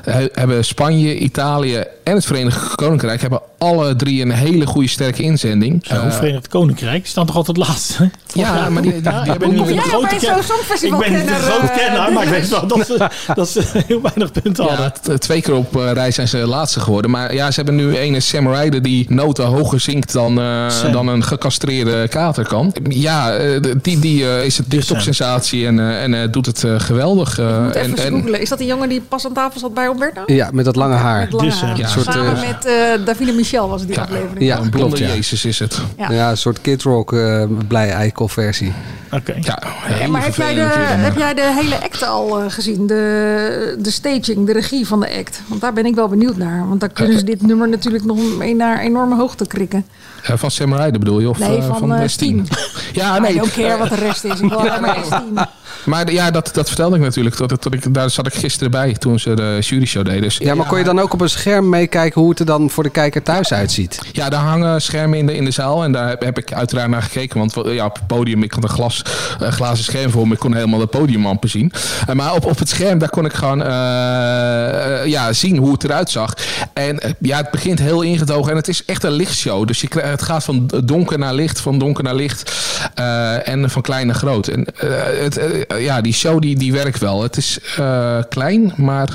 he- hebben Spanje, Italië en het Verenigd Koninkrijk hebben alle drie een hele goede sterke inzending.
Zo,
Eh,
Verenigd Koninkrijk, die staan toch altijd laatst? hè? Vorig jaar
maar die-
ook.
die-
Nou,
Ja,
die
ik
hebben
ben niet
ook-
een
Ja,
grote
bij zo'n
ken- Ik
songfestivalkenner,
ben niet een
eh,
groot kenner, maar ik weet wel dat ze, dat ze heel weinig punten hadden.
ja, t- twee keer op eh, rij zijn ze laatste geworden. Maar ja, ze hebben nu ene Sam Ryder die noten hoger zingt dan, eh,
Sam.
dan een gecastreerde kater kan. Ja, eh, de- die, die eh, is een TikTok-sensatie en, eh, en eh, doet het eh, geweldig. eh,
Moet even
en,
eens
en-
googelen. Is dat die jongen die pas aan tafel zat bij Umberto?
Ja, met dat lange haar.
Met lange haar.
Een soort,
Samen
eh,
met eh Davine Michel was het die aflevering.
ja, klopt, ja.
Jezus is het.
Ja.
Ja, een soort Kid Rock eh, blij eikel versie.
Oké.
Hey, maar heb jij, de, heb jij de hele act al eh, gezien? De, de staging, de regie van de act? Want daar ben ik wel benieuwd naar. Want daar kunnen ze dit nummer natuurlijk nog mee naar enorme hoogte krikken.
Eh, van Sam Ryder bedoel je? Of
nee,
eh,
van,
van
eh, Ah,
S10? Ja,
Nou, I
nee.
don't care wat de rest is. Ik wil alleen maar S10.
Maar de- ja, dat, dat vertelde ik natuurlijk. Dat, dat, ik, daar zat ik gisteren bij toen ze de jury show deden. Dus,
Ja, maar kon je dan ook op een scherm meekijken hoe het er dan voor de kijker thuis uitziet?
Ja, daar hangen schermen in de, in de zaal. En daar heb, heb ik uiteraard naar gekeken. Want wel, ja, op het podium, ik had een glas, eh, glazen scherm voor me. Ik kon helemaal het podium amper zien. Eh, maar op, op het scherm, daar kon ik gewoon eh, eh, ja, zien hoe het eruit zag. En eh, ja, het begint heel ingetogen. En het is echt een lichtshow. Dus je, krijgt- het gaat van donker naar licht, van donker naar licht. eh, en van klein naar groot. En eh, het, eh, ja, die show die, die werkt wel. Het is eh, klein, maar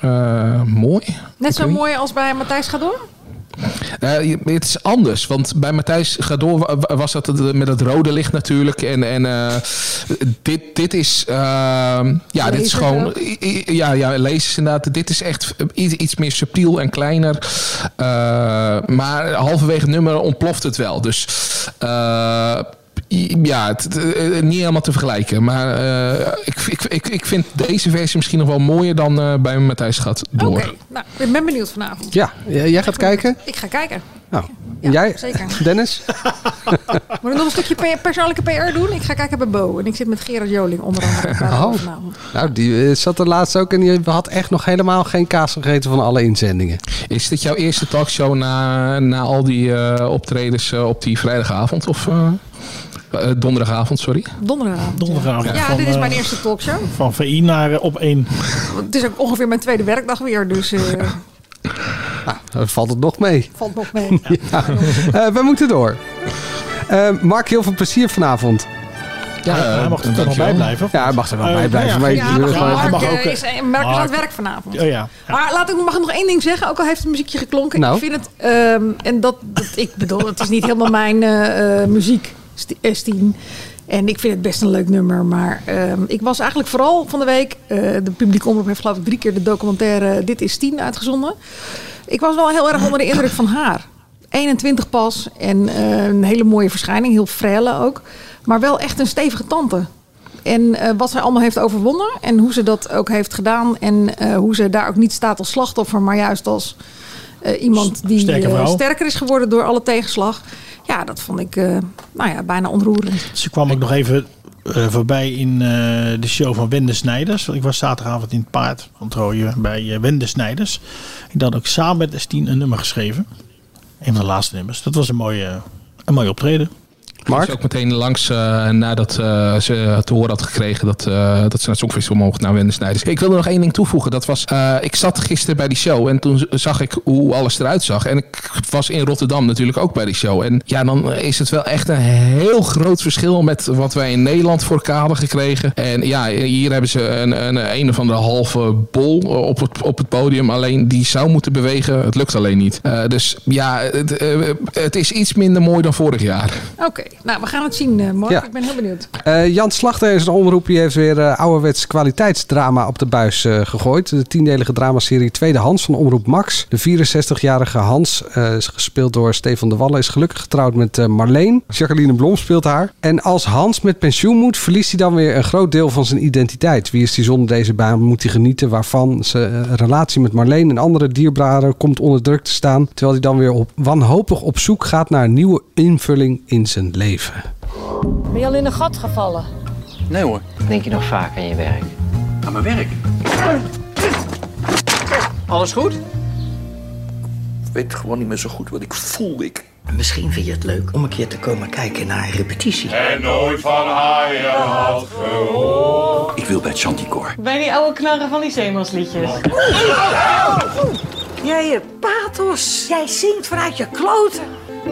eh, mooi.
Net zo
Oké.
mooi als bij Matthijs Gador?
Eh, je- het is anders, want bij Matthijs Gador wa- wa- was dat het- eh, met dat rode licht natuurlijk. En, en eh, dit, dit is, eh, ja, dit
Lasers
is gewoon,
ook?
i- i- ja, ja, lezers inderdaad. Dit is echt iets, iets meer subtiel en kleiner. Eh, maar halverwege het nummer ontploft het wel. Dus eh, i- ja, het, eh, niet helemaal te vergelijken. Maar eh, ik, ik, ik, ik vind deze versie misschien nog wel mooier dan eh, bij Matthijs Gador.
Nou, ik ben benieuwd vanavond.
Ja, j- jij gaat kijken?
Ik ga kijken.
Nou, en jij?
zeker.
Dennis?
Moet ik nog een stukje pe- persoonlijke PR doen? Ik ga kijken bij Bo. En ik zit met Gerard Joling onder andere. bij
Oh.
de vanavond.
Nou, die eh, zat er laatst ook en die had echt nog helemaal geen kaas gegeten van alle inzendingen.
Is dit jouw eerste talkshow na, na al die eh, optredens eh, op die vrijdagavond? Of eh, eh, donderdagavond, sorry?
Donderdagavond.
Donderdagavond
Ja,
van,
dit is mijn
eh,
eerste talkshow.
Van VI naar eh, op één.
Het is ook ongeveer mijn tweede werkdag weer. Dus eh
Dan valt het nog mee.
valt nog mee.
Ja. Eh, we moeten door. Eh, Mark, heel veel plezier vanavond.
Ja,
Hij- hij mag er toch nog
dankjewel.
bij blijven, of
Ja, hij mag er wel
Eh,
bij blijven.
ja,
maar ik
ja,
bedoel,
mag-
gewoon-
ja, hij mag
Mark,
ook,
eh,
eh,
is, eh, Mark is aan het werk vanavond.
Oh ja.
Maar laat ik, mag ik nog één ding zeggen? Ook al heeft het muziekje geklonken.
Nou.
Ik vind het... ehm, en dat, dat... Ik bedoel, het is niet helemaal mijn eh, eh, muziek. sti- eh, Stien. En ik vind het best een leuk nummer. Maar ehm, ik was eigenlijk vooral van de week... eh, de publieke omroep heeft geloof ik drie keer de documentaire Dit is Tien uitgezonden. Ik was wel heel erg onder de indruk van haar. 21 pas en eh, een hele mooie verschijning. Heel frelle ook. Maar wel echt een stevige tante. En eh, wat zij allemaal heeft overwonnen. En hoe ze dat ook heeft gedaan. En eh, hoe ze daar ook niet staat als slachtoffer. Maar juist als eh, iemand die
sterke
eh,
vrouw.
sterker is geworden door alle tegenslag. Ja, dat vond ik eh, nou ja, bijna ontroerend.
Ze kwam ook nog even eh, voorbij in eh, de show van Wende Snijders. Want Ik was zaterdagavond in het paard van Trooien bij eh, Wende Snijders. Ik had ook samen met Estien een nummer geschreven. Een van de laatste nummers. Dat was een mooie, een mooie optreden.
Mark? ook meteen langs eh, nadat eh, ze te horen had gekregen dat, eh, dat ze naar het Songfestival Nou, mocht naar Wende Snijders. Ik wilde nog één ding toevoegen. Dat was, eh, ik zat gisteren bij die show en toen zag ik hoe alles eruit zag. En ik was in Rotterdam natuurlijk ook bij die show. En ja, dan is het wel echt een heel groot verschil met wat wij in Nederland voor elkaar hadden gekregen. En ja, hier hebben ze een, een, een of andere halve bol op het, op het podium. Alleen die zou moeten bewegen. Het lukt alleen niet. Eh, dus ja, het, eh, het is iets minder mooi dan vorig jaar.
Oké, nou we gaan het zien, eh, Mark.
Ja.
Ik ben heel benieuwd.
Eh, Jan Slachter is een omroep. Die heeft weer eh ouderwets kwaliteitsdrama op de buis eh, gegooid. De tiendelige dramaserie Tweede Hans van Omroep Max. De 64-jarige Hans, eh, is gespeeld door Stefan de Wallen, is gelukkig getrouwd met eh, Marleen. Jacqueline Blom speelt haar. En als Hans met pensioen moet, verliest hij dan weer een groot deel van zijn identiteit. Wie is hij zonder deze baan? Moet hij genieten? Waarvan zijn eh, relatie met Marleen en andere dierbaren komt onder druk te staan. Terwijl hij dan weer op, wanhopig op zoek gaat naar een nieuwe invulling in zijn leven.
Ben je al in een gat gevallen?
Nee hoor.
Denk je nog vaak aan je werk?
Aan mijn werk.
Alles goed?
Ik weet gewoon niet meer zo goed wat ik voel. Ik.
Misschien vind je het leuk om een keer te komen kijken naar een repetitie.
En nooit van haaien had gehoord.
Ik wil bij het Chanticoor.
Bij die oude knarren van die zeemansliedjes.
Jij hebt pathos. Jij zingt vanuit je kloten.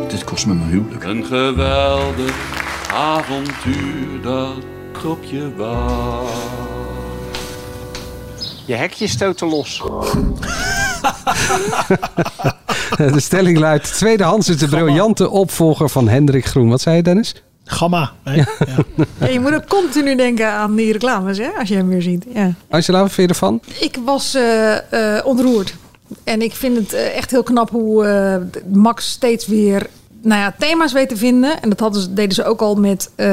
Dit kost me mijn huwelijk.
Een geweldig avontuur dat op je wacht.
Je hekje stoten los.
De stelling luidt: Tweede Hans is de briljante opvolger van Hendrik Groen. Wat zei je, Dennis?
Gamma. Hè?
Ja, je moet ook continu denken aan die reclames, hè, als je hem weer ziet. Ja.
Angela, wat vind je ervan?
Ik was eh, eh, ontroerd. En ik vind het eh, echt heel knap hoe eh, Max steeds weer nou ja, thema's weet te vinden. En dat hadden ze, deden ze ook al met eh,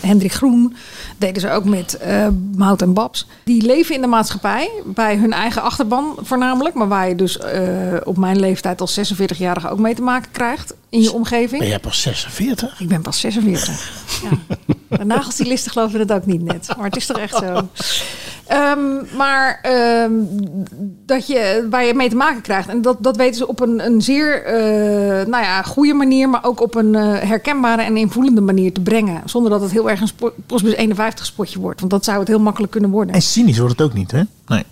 Hendrik Groen. Deden ze ook met eh Mout en Babs. Die leven in de maatschappij, bij hun eigen achterban voornamelijk. Maar waar je dus eh, op mijn leeftijd als 46-jarige ook mee te maken krijgt in je omgeving.
Ben jij pas 46?
Ik ben pas 46. Ja. De nagelstylisten geloven het ook niet net. Maar het is toch echt zo. Ehm, maar ehm, dat je, waar je mee te maken krijgt. En dat, dat weten ze op een, een zeer eh, nou ja, goede manier. Maar ook op een eh, herkenbare en invoelende manier te brengen. Zonder dat het heel erg een spo- Postbus 51 spotje wordt. Want dat zou het heel makkelijk kunnen worden.
En cynisch wordt het ook niet, hè? Nee.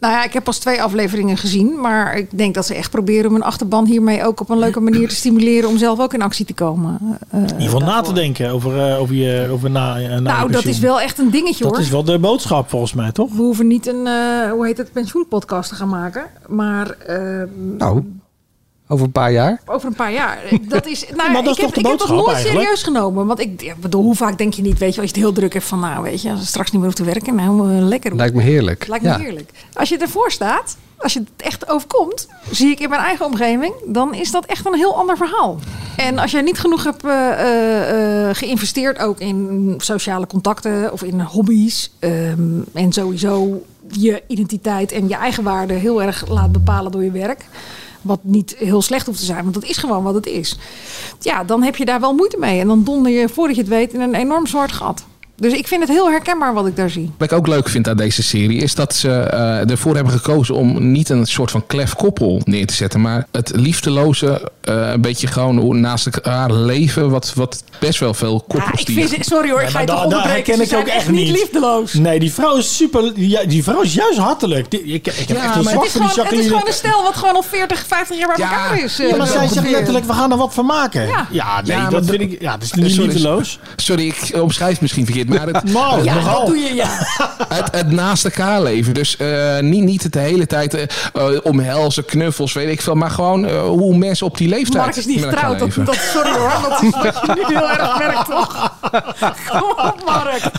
Nou ja, ik heb pas twee afleveringen gezien. Maar ik denk dat ze echt proberen om hun achterban hiermee ook op een leuke manier te stimuleren. Om zelf ook in actie te komen. Eh,
In ieder geval na te denken over, eh, over, je, over na, eh, na je
nou, dat
pensioen.
is wel echt een dingetje
Dat
hoor.
is wel de boodschap volgens mij, toch?
We hoeven niet een, eh, hoe heet het, pensioenpodcast te gaan maken. Maar ehm,
Nou, over een paar jaar.
over een paar jaar. Dat is, nou,
maar dat is toch
ik, heb,
de
ik heb dat
boodschap
nooit
eigenlijk?
serieus genomen. Want ik ja, bedoel, hoe vaak denk je niet, weet je, als je het heel druk hebt van, nou weet je, als je straks niet meer hoeft te werken, nou eh, lekker.
Lijkt me heerlijk.
Lijkt me
Ja.
heerlijk. Als je ervoor staat, als je het echt overkomt, zie ik in mijn eigen omgeving, dan is dat echt een heel ander verhaal. En als jij niet genoeg hebt eh, eh, eh, geïnvesteerd ook in sociale contacten of in hobby's ehm, en sowieso je identiteit en je eigen waarde heel erg laat bepalen door je werk. Wat niet heel slecht hoeft te zijn, want dat is gewoon wat het is. Ja, dan heb je daar wel moeite mee. En dan donder je, voordat je het weet, in een enorm zwart gat. Dus ik vind het heel herkenbaar wat ik daar zie.
Wat ik ook leuk vind aan deze serie is dat ze eh, ervoor hebben gekozen om niet een soort van klef koppel neer te zetten. Maar het liefdeloze, eh, een beetje gewoon hoe naast elkaar leven. Wat, wat best wel veel koppels
Ik
die.
vind, sorry hoor, ik
Nee,
ga
maar
je
da-
toch
daar
onderbreken.
herken
Ze
ik
zijn
ook echt niet.
liefdeloos.
Nee, die vrouw is super. Ja, die vrouw is juist hartelijk. Die- ik, ik heb
Ja,
echt een
maar het
zwak
is,
voor die
gewoon, het is
Jacqueline.
gewoon een stel wat gewoon al 40, 50 jaar bij elkaar is. eh,
Ja, maar zij
ongeveer.
zegt letterlijk, we gaan er wat van maken.
Ja.
Ja, nee,
Ja,
dat
maar-
vind ik... Ja, dat is niet
Sorry.
liefdeloos.
Sorry, ik omschrijf het misschien verkeerd. Maar het,
Nou,
het,
Ja, nogal. dat doe
je, ja.
het, het naast elkaar leven. Dus eh, niet, niet het de hele tijd eh, eh, omhelzen, knuffels, weet ik veel. Maar gewoon eh, hoe mensen op die leeftijd.
Mark is niet
met elkaar
getrouwd. Dat,
leven.
dat, sorry hoor, dat is wat je nu heel erg merkt toch? Kom op Mark.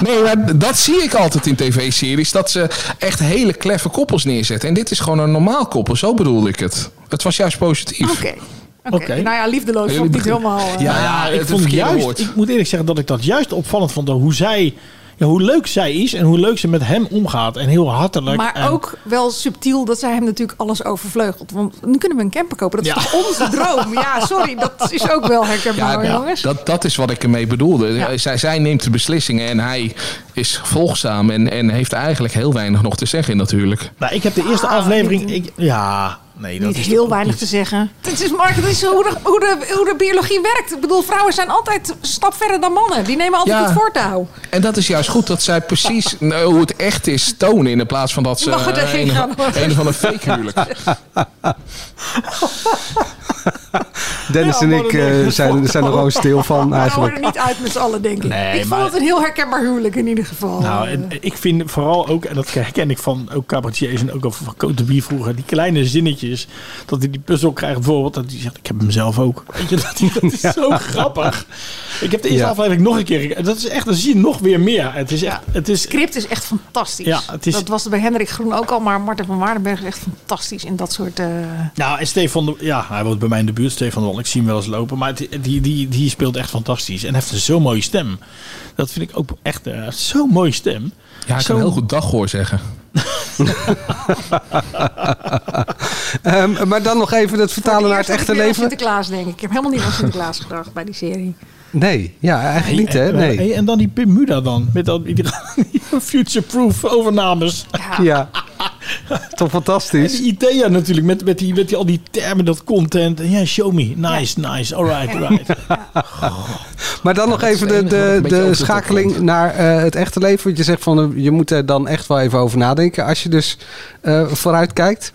Nee, maar dat zie ik altijd in tv-series. Dat ze echt hele kleffe koppels neerzetten. En dit is gewoon een normaal koppel. Zo bedoelde ik het. Het was juist positief.
Oké. Oké. Nou ja, liefdeloos vond ik niet helemaal... eh,
Ja,
Nou
ja,
ik
het
vond
verkeerde
juist,
woord.
ik moet eerlijk zeggen dat ik dat juist opvallend vond. Hoe zij ja, hoe leuk zij is en hoe leuk ze met hem omgaat. En heel hartelijk.
Maar
en-
ook wel subtiel dat zij hem natuurlijk alles overvleugelt. Want nu kunnen we een camper kopen. Dat is toch onze droom? Ja, sorry. Dat is ook wel herkenbaar,
Ja,
jongens.
dat, dat is wat ik ermee bedoelde. Eh, Zij, zij neemt de beslissingen en hij is volgzaam en, en heeft eigenlijk heel weinig nog te zeggen natuurlijk.
Nou, ik heb de eerste aflevering. Ik, ja, nee, dat
Niet
is
heel
toch-
weinig te zeggen. Het is, Mark, dat is hoe de, hoe, de, hoe de biologie werkt. Ik bedoel, vrouwen zijn altijd een stap verder dan mannen. Die nemen altijd
Ja.
het nou.
Nou,
voortouw.
En dat is juist goed dat zij precies nou, hoe het echt is tonen in plaats van dat ze
Mag het
eh,
erin
een,
gaan, hoor.
een van een fake huwelijk.
Dennis en ik eh, zijn, zijn er gewoon stil van
Nou, we er
eigenlijk.
niet uit met z'n allen, denk ik.
Nee,
ik
maar-
vond het een heel herkenbaar huwelijk in ieder geval.
Nou, en ik vind vooral ook, en dat herken ik van ook cabaretiers en ook al van Cote de Bier vroeger, die kleine zinnetjes, dat hij die puzzel krijgt bijvoorbeeld, dat hij zegt, ik heb hem zelf ook. Weet je, dat, dat is zo grappig. Ik heb de eerste
Ja.
aflevering nog een keer, gekeken. dat is echt, dan zie je nog weer meer. Het is echt, het is...
script is echt fantastisch.
Ja, het is-
Dat was bij Hendrik Groen ook al, maar Marten van Waardenberg is echt fantastisch in dat soort... eh,
Nou, en Stefan, de- ja, hij woont bij mij in de buurt, Stefan de Wal. Ik zie hem wel eens lopen, maar die, die, die, die speelt echt fantastisch. En heeft een zo'n mooie stem. Dat vind ik ook echt eh, zo'n mooie stem.
Ja, ik
Zo'n-
kan heel goed dag hoor zeggen.
Ehm, maar dan nog even dat vertalen naar het
Eerst
echte
weer aan
leven.
Sinterklaas, denk ik. Ik heb helemaal niet aan Sinterklaas gedacht bij die serie.
Nee, ja, eigenlijk niet hè.
en, eh,
Nee.
en dan die Bermuda dan, met al die, die future-proof overnames.
eh,
Ja, toch fantastisch.
En die idea natuurlijk, met, met, die, met die, al die termen, dat content. En Ja, show me. Nice, nice. Alright, alright.
Maar dan nog
dat is
even
het
de,
enige wat
de,
een beetje
de
over de
schakeling naar eh, het echte leven. Want je zegt van eh, je moet er dan echt wel even over nadenken. Als je dus eh, vooruit kijkt.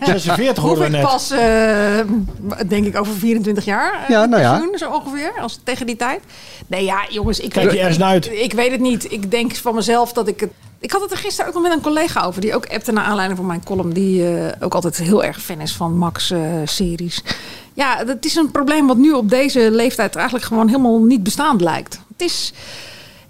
Gereserveerd
hoor
hoorden we
ik
net.
pas, eh, denk ik, over 24 jaar. eh,
Ja, nou ja.
pensioen, zo ongeveer, als, tegen die tijd. Nee, ja, jongens. Ik
Kijk je
weet-
ergens naar uit?
Ik weet het niet. Ik denk van mezelf dat ik het... Ik had het er gisteren ook nog met een collega over. Die ook appte naar aanleiding van mijn column. Die eh, ook altijd heel erg fan is van Max-series. ja, dat is een probleem wat nu op deze leeftijd eigenlijk gewoon helemaal niet bestaand lijkt. Het is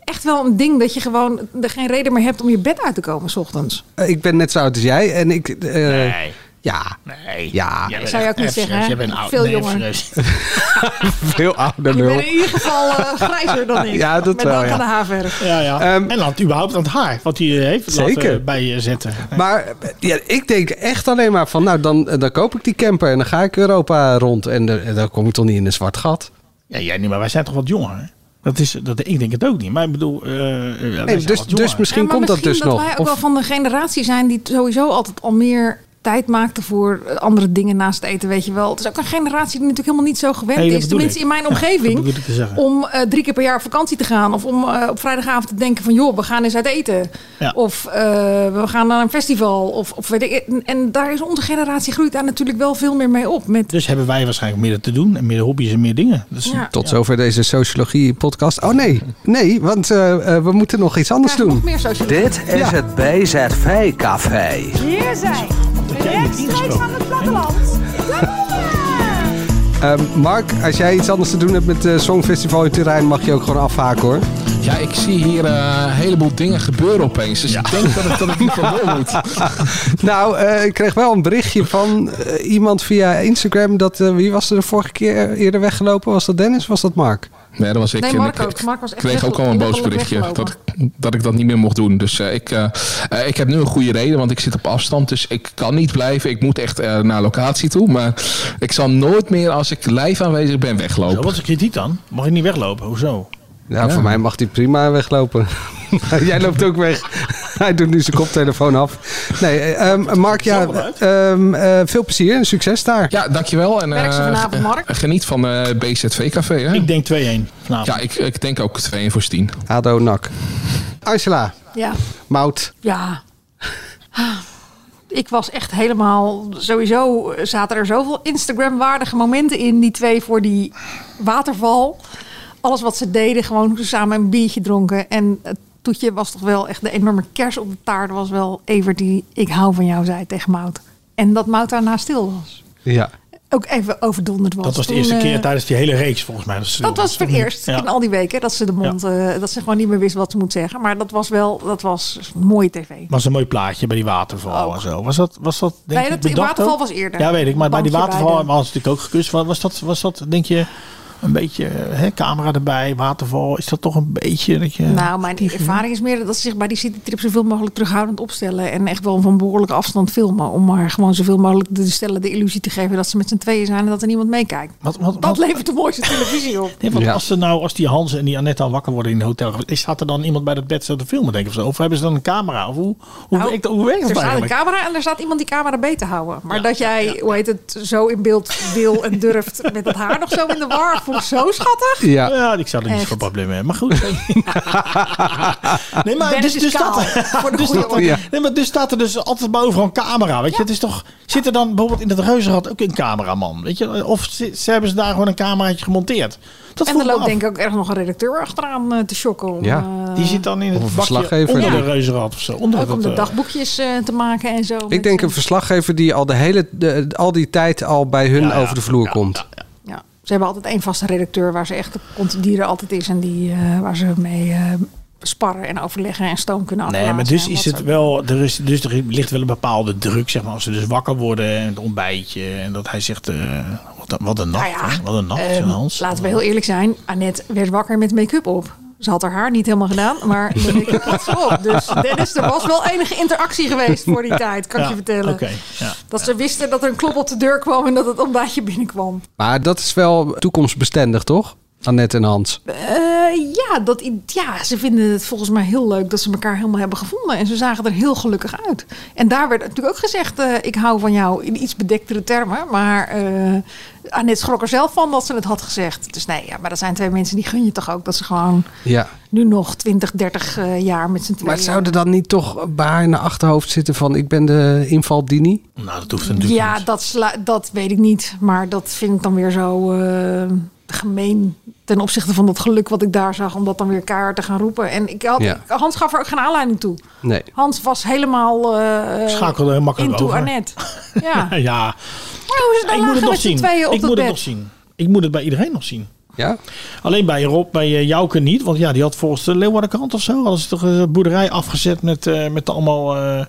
echt wel een ding dat je gewoon er geen reden meer hebt om je bed uit te komen s ochtends.
Eh, ik ben net zo oud als jij. En ik. eh, Ja.
Nee.
Ja.
Jij bent
Zou je ook
echt
niet zeggen, hè?
Jij bent oud.
Veel
Nee,
jonger.
fris.
Veel ouder
Ik
lul.
ben in ieder geval eh, grijzer dan ik.
Ja, dat
Met
wel,
dank
ja.
aan de haarverf.
Ja, ja. en laat überhaupt aan het haar, wat hij eh, heeft laten
Zeker.
bij je zetten.
Maar eh, ja, ik denk echt alleen maar van, nou dan, eh, dan koop ik die camper en dan ga ik Europa rond en eh, dan kom ik toch niet in een zwart gat.
Ja, jij niet, maar wij zijn toch wat jonger. hè? Dat is, dat, ik denk het ook niet, maar ik bedoel... eh, eh, wij zijn
dus-
wat jonger.
dus misschien
Ja, maar misschien dat wij ook wel van de generatie zijn die sowieso altijd al meer tijd maakte voor eh, andere dingen naast het eten, weet je wel. Het is ook een generatie die natuurlijk helemaal niet zo gewend
Nee, dat
is,
bedoel
tenminste
ik.
in mijn
Ja, dat
omgeving,
bedoel ik te zeggen.
om eh, drie keer per jaar op vakantie te gaan. Of om eh, op vrijdagavond te denken van, joh, we gaan eens uit eten.
Ja.
Of eh, we gaan naar een festival. Of, of weet ik, en- en daar is onze generatie groeit daar natuurlijk wel veel meer mee op. Met
Dus hebben wij waarschijnlijk meer te doen en meer hobby's en meer dingen. Dus,
Ja.
Tot zover deze sociologie podcast. Oh nee, nee, want eh, eh, we moeten nog iets anders doen.
meer sociologie.
Dit is
Ja.
het BZV Café.
Hier zijn, rechtstreeks van het platteland.
Eh, Mark, als jij iets anders te doen hebt met het Songfestival in Terrein, mag je ook gewoon afhaken hoor.
Ja, ik zie hier eh, een heleboel dingen gebeuren opeens. Dus ik denk dat ik, dat ik niet van wil moet.
nou, eh, ik kreeg wel een berichtje van eh, iemand via Instagram. Dat, eh, wie was er de vorige keer eerder weggelopen? Was dat Dennis? Was dat Mark?
Nee, dat was ik.
Nee,
En
Mark
ik
ook. Mark was echt
kreeg ook
weggelopen.
al een
Die
boos
was allemaal
berichtje dat,
weggelopen.
ik- dat ik dat niet meer mocht doen. Dus eh, ik, eh, eh, ik heb nu een goede reden, want ik zit op afstand. Dus ik kan niet blijven. Ik moet echt eh, naar locatie toe. Maar ik zal nooit meer als ik live aanwezig ben
Zo,
weglopen.
wat is de kritiek dan? Mag ik niet weglopen? Hoezo?
Ja, Nou, voor mij mag hij prima weglopen. Jij loopt ook weg. hij doet nu zijn koptelefoon af. Nee, eh, ehm, Mark, ja, ehm, eh, veel plezier en succes daar.
Ja, dankjewel. En,
Werk ze
eh,
vanavond, Mark?
Geniet van eh, BZV Café. Hè? Ik
denk 2-1
Ja, ik, ik denk ook 2-1 voor Stien.
Ado Nak. Angela,
Ja,
Mout.
Ja. Ah, Ik was echt helemaal... Sowieso zaten er zoveel Instagram-waardige momenten in. Die twee voor die waterval. Alles wat ze deden. Gewoon hoe ze samen een biertje dronken. En het toetje was toch wel echt de enorme kers op de taart. Was wel Evert die ik hou van jou zei tegen Mout. En dat Mout daarna stil was.
Ja.
Ook even overdonderd was.
Dat was de
Toen,
eerste
eh,
keer tijdens die hele reeks volgens mij. ze-
dat was voor het eerst
Ja.
in al die weken dat ze de mond, eh, dat ze gewoon niet meer wist wat ze moet zeggen. Maar dat was wel, dat was mooie tv.
was een mooi plaatje bij die waterval en zo. Was dat, was dat denk
Nee,
je,
dat- die
bedacht
waterval
ook?
was eerder.
Ja, weet ik. Maar bij die
Bankje bij
waterval
de-
hebben we ons natuurlijk ook gekust. Wa- Was dat, was dat denk je, een beetje hè, camera erbij, waterval. Is dat toch een beetje dat je...
Nou, mijn ervaring is meer dat ze zich bij die citytrip zoveel mogelijk terughoudend opstellen. En echt wel van behoorlijke afstand filmen. Om maar gewoon zoveel mogelijk de stellen de illusie te geven dat ze met z'n tweeën zijn en dat er niemand meekijkt.
Wat, wat,
dat levert de mooiste televisie op.
Nee, want als, ze nou, als die Hans en die Annette al wakker worden in het hotel, is, staat er dan iemand bij dat bed zo te filmen, denk ik? Of, zo? of hebben ze dan een camera? Of hoe, hoe,
Nou,
werkt, dat- hoe werkt dat
er staat een
eigenlijk?
camera en er staat iemand die camera beet te houden. Maar dat jij, hoe heet het, zo in beeld wil en durft met dat haar nog zo in de war, vond ik zo schattig.
Ja. ik zou er niet
Echt.
voor problemen hebben. Maar goed. nee, maar
Dennis
dus,
is
dus,
kaal,
staat
voor
er,
de
dus,
goede
staat er,
orde.
nee, maar dus staat er dus altijd maar overal een camera. Weet je? Het is toch, zit er dan bijvoorbeeld in het reuzenrad ook een cameraman? Weet je? Of ze, ze hebben ze daar gewoon een cameraatje gemonteerd? Dat
en
vroeg me
er loopt
af.
denk ik ook erg nog een redacteur achteraan eh, te shocken. Om,
Ja.
eh,
Die zit dan in
Of een
het bakje
verslaggever,
onder de
denk ik.
reuzenrad of zo. Onder
ook om
dat,
de
eh,
dagboekjes eh, te maken en zo. eh,
Ik denk een verslaggever die al, de hele, de- al die tijd al bij hun over de vloer komt.
Ja, ze hebben altijd één vaste redacteur waar ze echt op komt, die er altijd is en die, eh, waar ze mee eh, sparren en overleggen en stoom kunnen
Nee,
afblazen.
maar dus
en
is
wat
het
zo.
wel, er is, dus er ligt wel een bepaalde druk, zeg maar, als ze dus wakker worden en het ontbijtje en dat hij zegt, eh, wat, een- wat een nacht,
Nou ja,
hè? wat een nacht,
Ehm,
zo'n Hans.
laten we heel eerlijk zijn, Annette werd wakker met make-up op. Ze had haar haar niet helemaal gedaan, maar de make-up had ze op. Dus Dennis, er was wel enige interactie geweest voor die tijd, kan ik
Ja,
je vertellen.
oké,
ja.
dat ze wisten dat er een klop op de deur kwam en dat het ontbijtje binnenkwam.
Maar dat is wel toekomstbestendig, toch? Annette en Hans.
Eh, ja, dat, i- ja, ze vinden het volgens mij heel leuk dat ze elkaar helemaal hebben gevonden. En ze zagen er heel gelukkig uit. En daar werd natuurlijk ook gezegd, eh, ik hou van jou in iets bedektere termen. Maar eh Annette schrok er zelf van dat ze het had gezegd. Dus nee, ja, maar dat zijn twee mensen die gun je toch ook dat ze gewoon
Ja.
nu nog 20, 30 eh, jaar met z'n tweeën...
Maar zou er dan niet toch bij haar in de achterhoofd zitten van... ik ben de invaldini?
Nou, dat hoeft
dus
natuurlijk
Ja, dat, sla- dat weet ik niet. Maar dat vind ik dan weer zo eh, gemeen ten opzichte van dat geluk wat ik daar zag. Om dat dan weer keihard te gaan roepen. En ik had,
Ja.
ik- Hans gaf er ook geen aanleiding toe.
Nee.
Hans was helemaal eh
Schakelde heel makkelijk
into
over.
Annette. Ja.
ja, ja.
Maar hoe is het dan
ik moet het nog
met z'n
zien.
tweeën op
Ik
dat
moet
bed?
het nog zien. Ik moet het bij iedereen nog zien.
Ja?
Alleen bij Rob, bij eh, Jouke niet. Want ja, die had volgens de Leeuwardenkrant of zo... hadden ze toch een eh, boerderij afgezet met, eh, met allemaal eh,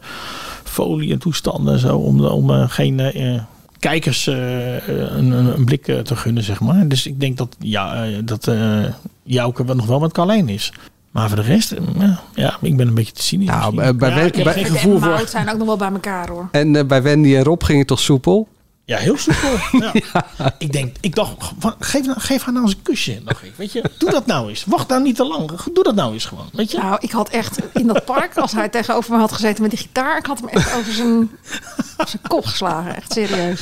folie en toestanden en zo... om, om eh, geen eh, kijkers eh, een, een, een blik eh, te gunnen, zeg maar. Dus ik denk dat, ja, eh, dat eh Jouke wel nog wel met Carlijn is. Maar voor de rest, eh, ja, ja, ik ben een beetje te cynisch. Nou,
bij
ja,
wel-
ik heb geen
bij-
Fred en
gevoel voor...
Maud zijn ook nog wel bij elkaar hoor.
En eh, bij Wendy en Rob ging het toch soepel?
Ja, heel soepel. Ja. Ik denk, ik dacht, wa- geef, nou- geef haar nou eens een kusje, dacht ik. Weet je, doe dat nou eens. Wacht nou niet te lang. Doe dat nou eens gewoon. Weet je?
Nou, ik had echt in dat park, als hij tegenover me had gezeten met die gitaar, ik had hem echt over zijn, op zijn kop geslagen. Echt serieus.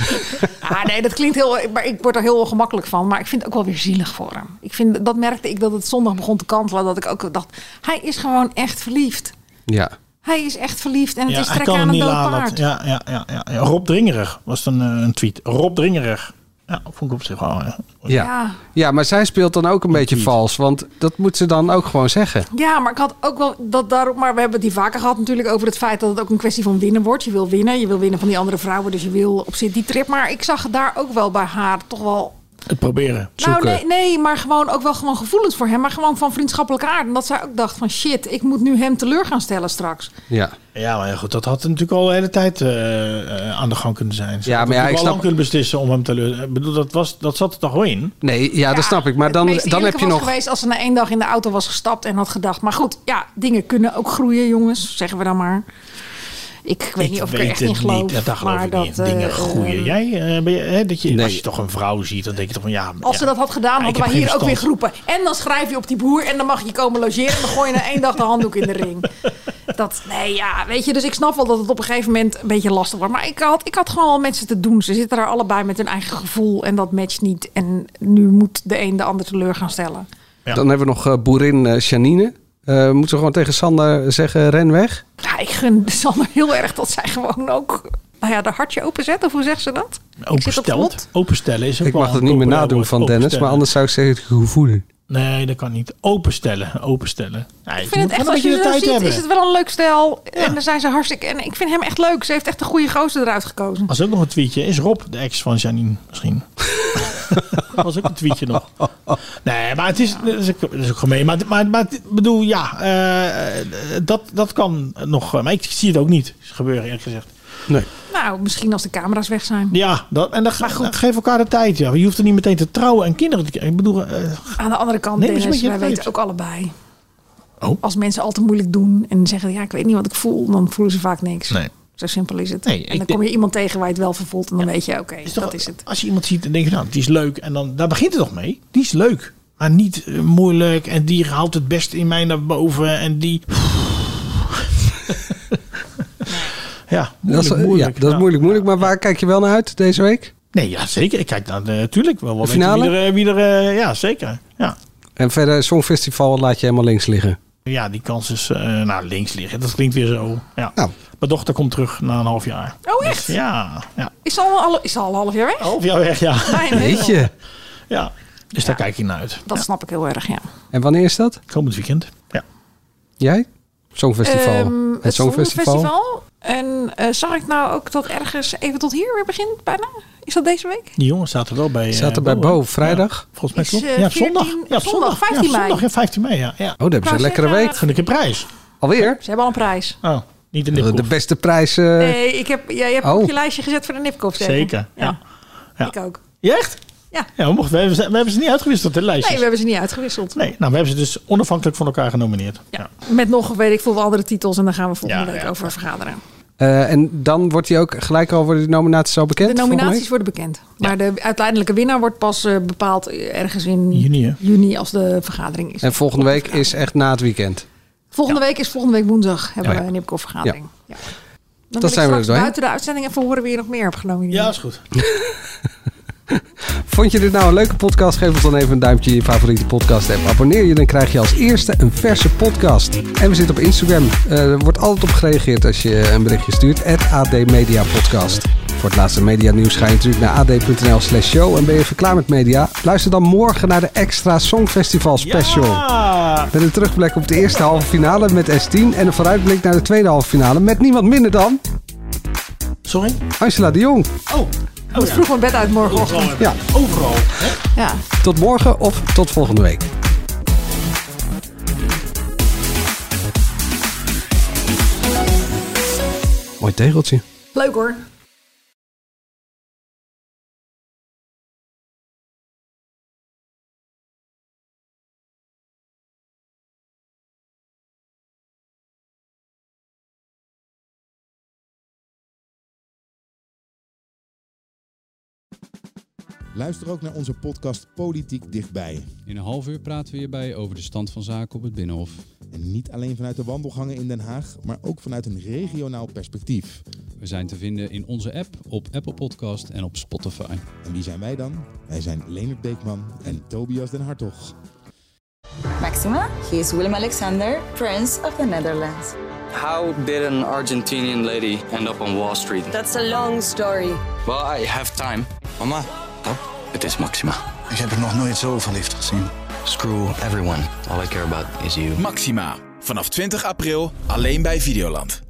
Ah, nee, dat klinkt heel. Maar ik word er heel ongemakkelijk van. Maar ik vind het ook wel weer zielig voor hem. Ik vind, dat merkte ik dat het zondag begon te kantelen. Dat ik ook dacht, hij is gewoon echt verliefd.
Ja.
Hij is echt verliefd en het is
hij
trekken aan een dood paard.
Ja, ja, ja, ja, ja. Rob Dringerig was dan eh, een tweet. Rob Dringerig. Ja, vond ik op zich wel. eh,
Ja.
Ja.
ja. maar zij speelt dan ook een beetje vals. Want dat moet ze dan ook gewoon zeggen.
Ja, maar ik had ook wel dat daarop. Maar we hebben het die vaker gehad natuurlijk over het feit dat het ook een kwestie van winnen wordt. Je wil winnen, je wil winnen van die andere vrouwen, dus je wil op zit die trip. Maar ik zag daar ook wel bij haar toch wel
Het proberen.
Nou, nee, nee, maar gewoon ook wel gewoon gevoelens voor hem. Maar gewoon van vriendschappelijke aard. En dat zij ook dacht van shit, ik moet nu hem teleur gaan stellen straks.
Ja.
Ja, maar ja, goed, dat had natuurlijk al de hele tijd eh, eh, aan de gang kunnen zijn. Ze ja, maar
ja, ik
al
snap-
lang kunnen beslissen om hem te leuren. Ik bedoel, dat, was, dat zat er toch wel in?
Nee, ja, dat snap ik. Maar
Het
dan,
meest
dan heb
eerlijke
je
was
nog...
geweest als ze na één dag in de auto was gestapt en had gedacht. Maar goed, ja, dingen kunnen ook groeien, jongens. Zeggen we dan maar. Ik, weet niet of ik er echt in geloof.
Ja, daar geloof
maar
ik
dat,
niet in. Dingen
eh,
groeien.
eh,
Jij, eh, ben je, hè, dat je, Als je toch een vrouw ziet, dan denk je toch van ja...
Als
ja.
ze dat had gedaan,
ik
hadden
heb
wij
geen
hier ook weer
verstand.
groepen. En dan schrijf je op die boer en dan mag je komen logeren. En dan gooi je na één dag de handdoek in de ring. Dat, nee, ja, weet je. Dus ik snap wel dat het op een gegeven moment een beetje lastig wordt. Maar ik had, ik had gewoon wel met ze te doen. Ze zitten daar allebei met hun eigen gevoel en dat matcht niet. En nu moet de een de ander teleur gaan stellen.
Dan hebben we nog eh, boerin eh Janine. Eh, moeten we gewoon tegen Sander zeggen, ren weg?
Ja, ik gun Sander heel erg dat zij gewoon ook... Nou ja, de hartje openzet, of hoe zegt ze dat? Ik zit op slot.
Opensteld. Openstellen is ook
Ik
wel
mag dat
een
niet meer
populair
nadoen
woord,
van Dennis.
openstellen.
Maar anders zou ik zeggen, gevoelen.
Nee, dat kan niet. Openstellen, openstellen. Nee,
Ik vind het echt, als je zo ziet, is het wel een leuk stijl. En daar zijn ze hartstikke... En ik vind hem echt leuk. Ze heeft echt een goede gozer eruit gekozen.
was ook nog een tweetje. Is Rob de ex van Janine misschien? dat was ook een tweetje nog. Nee, maar het is, het is, ook, het is ook gemeen. Maar, maar, maar ik bedoel, ja, eh, dat, dat kan nog. eh, Maar ik zie het ook niet gebeuren, eerlijk gezegd.
Nee.
Nou, misschien als de camera's weg zijn.
Ja, dat, en dan, ga- dan geef elkaar de tijd. Ja. Je hoeft er niet meteen te trouwen en kinderen te krijgen. Ik bedoel, eh,
Aan de andere kant,
Neem eens
Dennis,
een beetje
wij
tijd.
weten ook allebei.
Oh.
Als mensen al te moeilijk doen en zeggen, ja, ik weet niet wat ik voel, dan voelen ze vaak niks.
Nee.
Zo simpel is het.
Nee, ik
en dan
denk-
kom je iemand tegen waar je het wel voor voelt en dan weet je, oké, dat is het.
als je iemand ziet en denkt, nou, die is leuk. En dan, daar begint het toch mee. Die is leuk, maar niet eh, moeilijk. En die haalt het beste in mij naar boven. En die... ja,
Dat is, eh,
moeilijk, moeilijk.
ja, dat is moeilijk, moeilijk. Maar waar kijk je wel naar uit deze week?
Nee, ja, zeker. Ik kijk naar natuurlijk wel. wel
De
weten
finale?
Wie er, eh, wie er, eh, ja, zeker. Ja.
En verder, Songfestival laat je helemaal links liggen.
ja, die kans is eh naar links liggen. Dat klinkt weer zo. Ja.
Nou.
Mijn dochter komt terug na een half jaar.
Oh, echt?
Ja, ja.
Is al, al, is al een half jaar weg?
Half jaar weg, ja.
Mijn hemel.
Ja, dus daar kijk ik naar uit.
Dat snap ik heel erg, ja.
En wanneer is dat?
Komend weekend. Ja.
Jij? Songfestival.
Ehm,
het Songfestival.
Songfestival. En eh, zag ik nou ook dat ergens even tot hier weer begint bijna? Is dat deze week?
Die jongens zaten wel bij... eh,
Zaten bij
hè?
Bo, vrijdag?
Ja, volgens mij
Is,
klopt.
eh,
ja, zondag.
14
ja,
zondag, 15
ja,
mei.
zondag, ja, 15 mei, ja. ja.
Oh, daar hebben ze een
Nou,
lekkere week.
Vind ik een prijs.
Alweer?
Ze hebben al een prijs.
Oh, niet de
De,
nipkoek.
beste prijs. eh,
nee, ik heb, jij hebt
oh.
op je lijstje gezet voor de Nipkoff.
Zeker, ja. ja.
Ik ook.
Ja, echt?
Ja.
ja we, mochten, we, hebben ze, we hebben ze niet uitgewisseld, de lijstjes.
Nee, we hebben ze niet uitgewisseld.
Nee, nou, we hebben ze dus onafhankelijk van elkaar genomineerd. Ja.
Met nog, weet ik veel, wel andere titels. En daar gaan we volgende
Ja,
week
ja.
over vergaderen.
eh, en dan wordt die ook gelijk al worden die nominaties al bekend.
De
volgende
nominaties
week?
worden bekend. Maar de uiteindelijke winnaar wordt pas eh, bepaald ergens in
Juni, hè?
juni als de vergadering is.
En volgende week is echt na het weekend.
Volgende week is volgende week woensdag. Hebben
Ja.
we een Nipkoff-vergadering.
Ja.
Ja.
Dat
Dan wil ik
zijn we er
straks
doorheen.
buiten de uitzending even horen wie je nog meer hebt genomineerd. Ja,
is goed.
Vond je dit nou een leuke podcast? Geef ons dan even een duimpje in je favoriete podcast app. Abonneer je, dan krijg je als eerste een verse podcast. En we zitten op Instagram. Eh, er wordt altijd op gereageerd als je eh, een berichtje stuurt. Het AD Media Podcast. Voor het laatste media nieuws ga je natuurlijk naar ad.nl slash show. En ben je even klaar met media? Luister dan morgen naar de Extra Songfestival Special. Met een terugblik op de eerste halve finale met S10. En een vooruitblik naar de tweede halve finale met niemand minder dan...
Sorry?
Angela de Jong.
Oh,
ik moet vroeg mijn bed uit morgenochtend.
Ja.
Overal.
Ja.
Tot morgen of tot volgende week. Mooi tegeltje.
Leuk hoor.
Luister ook naar onze podcast Politiek Dichtbij.
In een half uur praten we hierbij over de stand van zaken op het Binnenhof.
En niet alleen vanuit de wandelgangen in Den Haag, maar ook vanuit een regionaal perspectief.
We zijn te vinden in onze app, op Apple Podcast en op Spotify.
En wie zijn wij dan? Wij zijn Leonard Beekman en Tobias den Hartog.
Maxima, he is Willem Alexander, Prince of the Netherlands.
How did an Argentinian lady end up on Wall Street?
That's a long story.
Well, I have time. Mama, oh, het is Maxima.
Ik heb er nog nooit zo verliefd gezien.
Screw everyone. All I care about is you. Maxima. Vanaf 20 april alleen bij Videoland.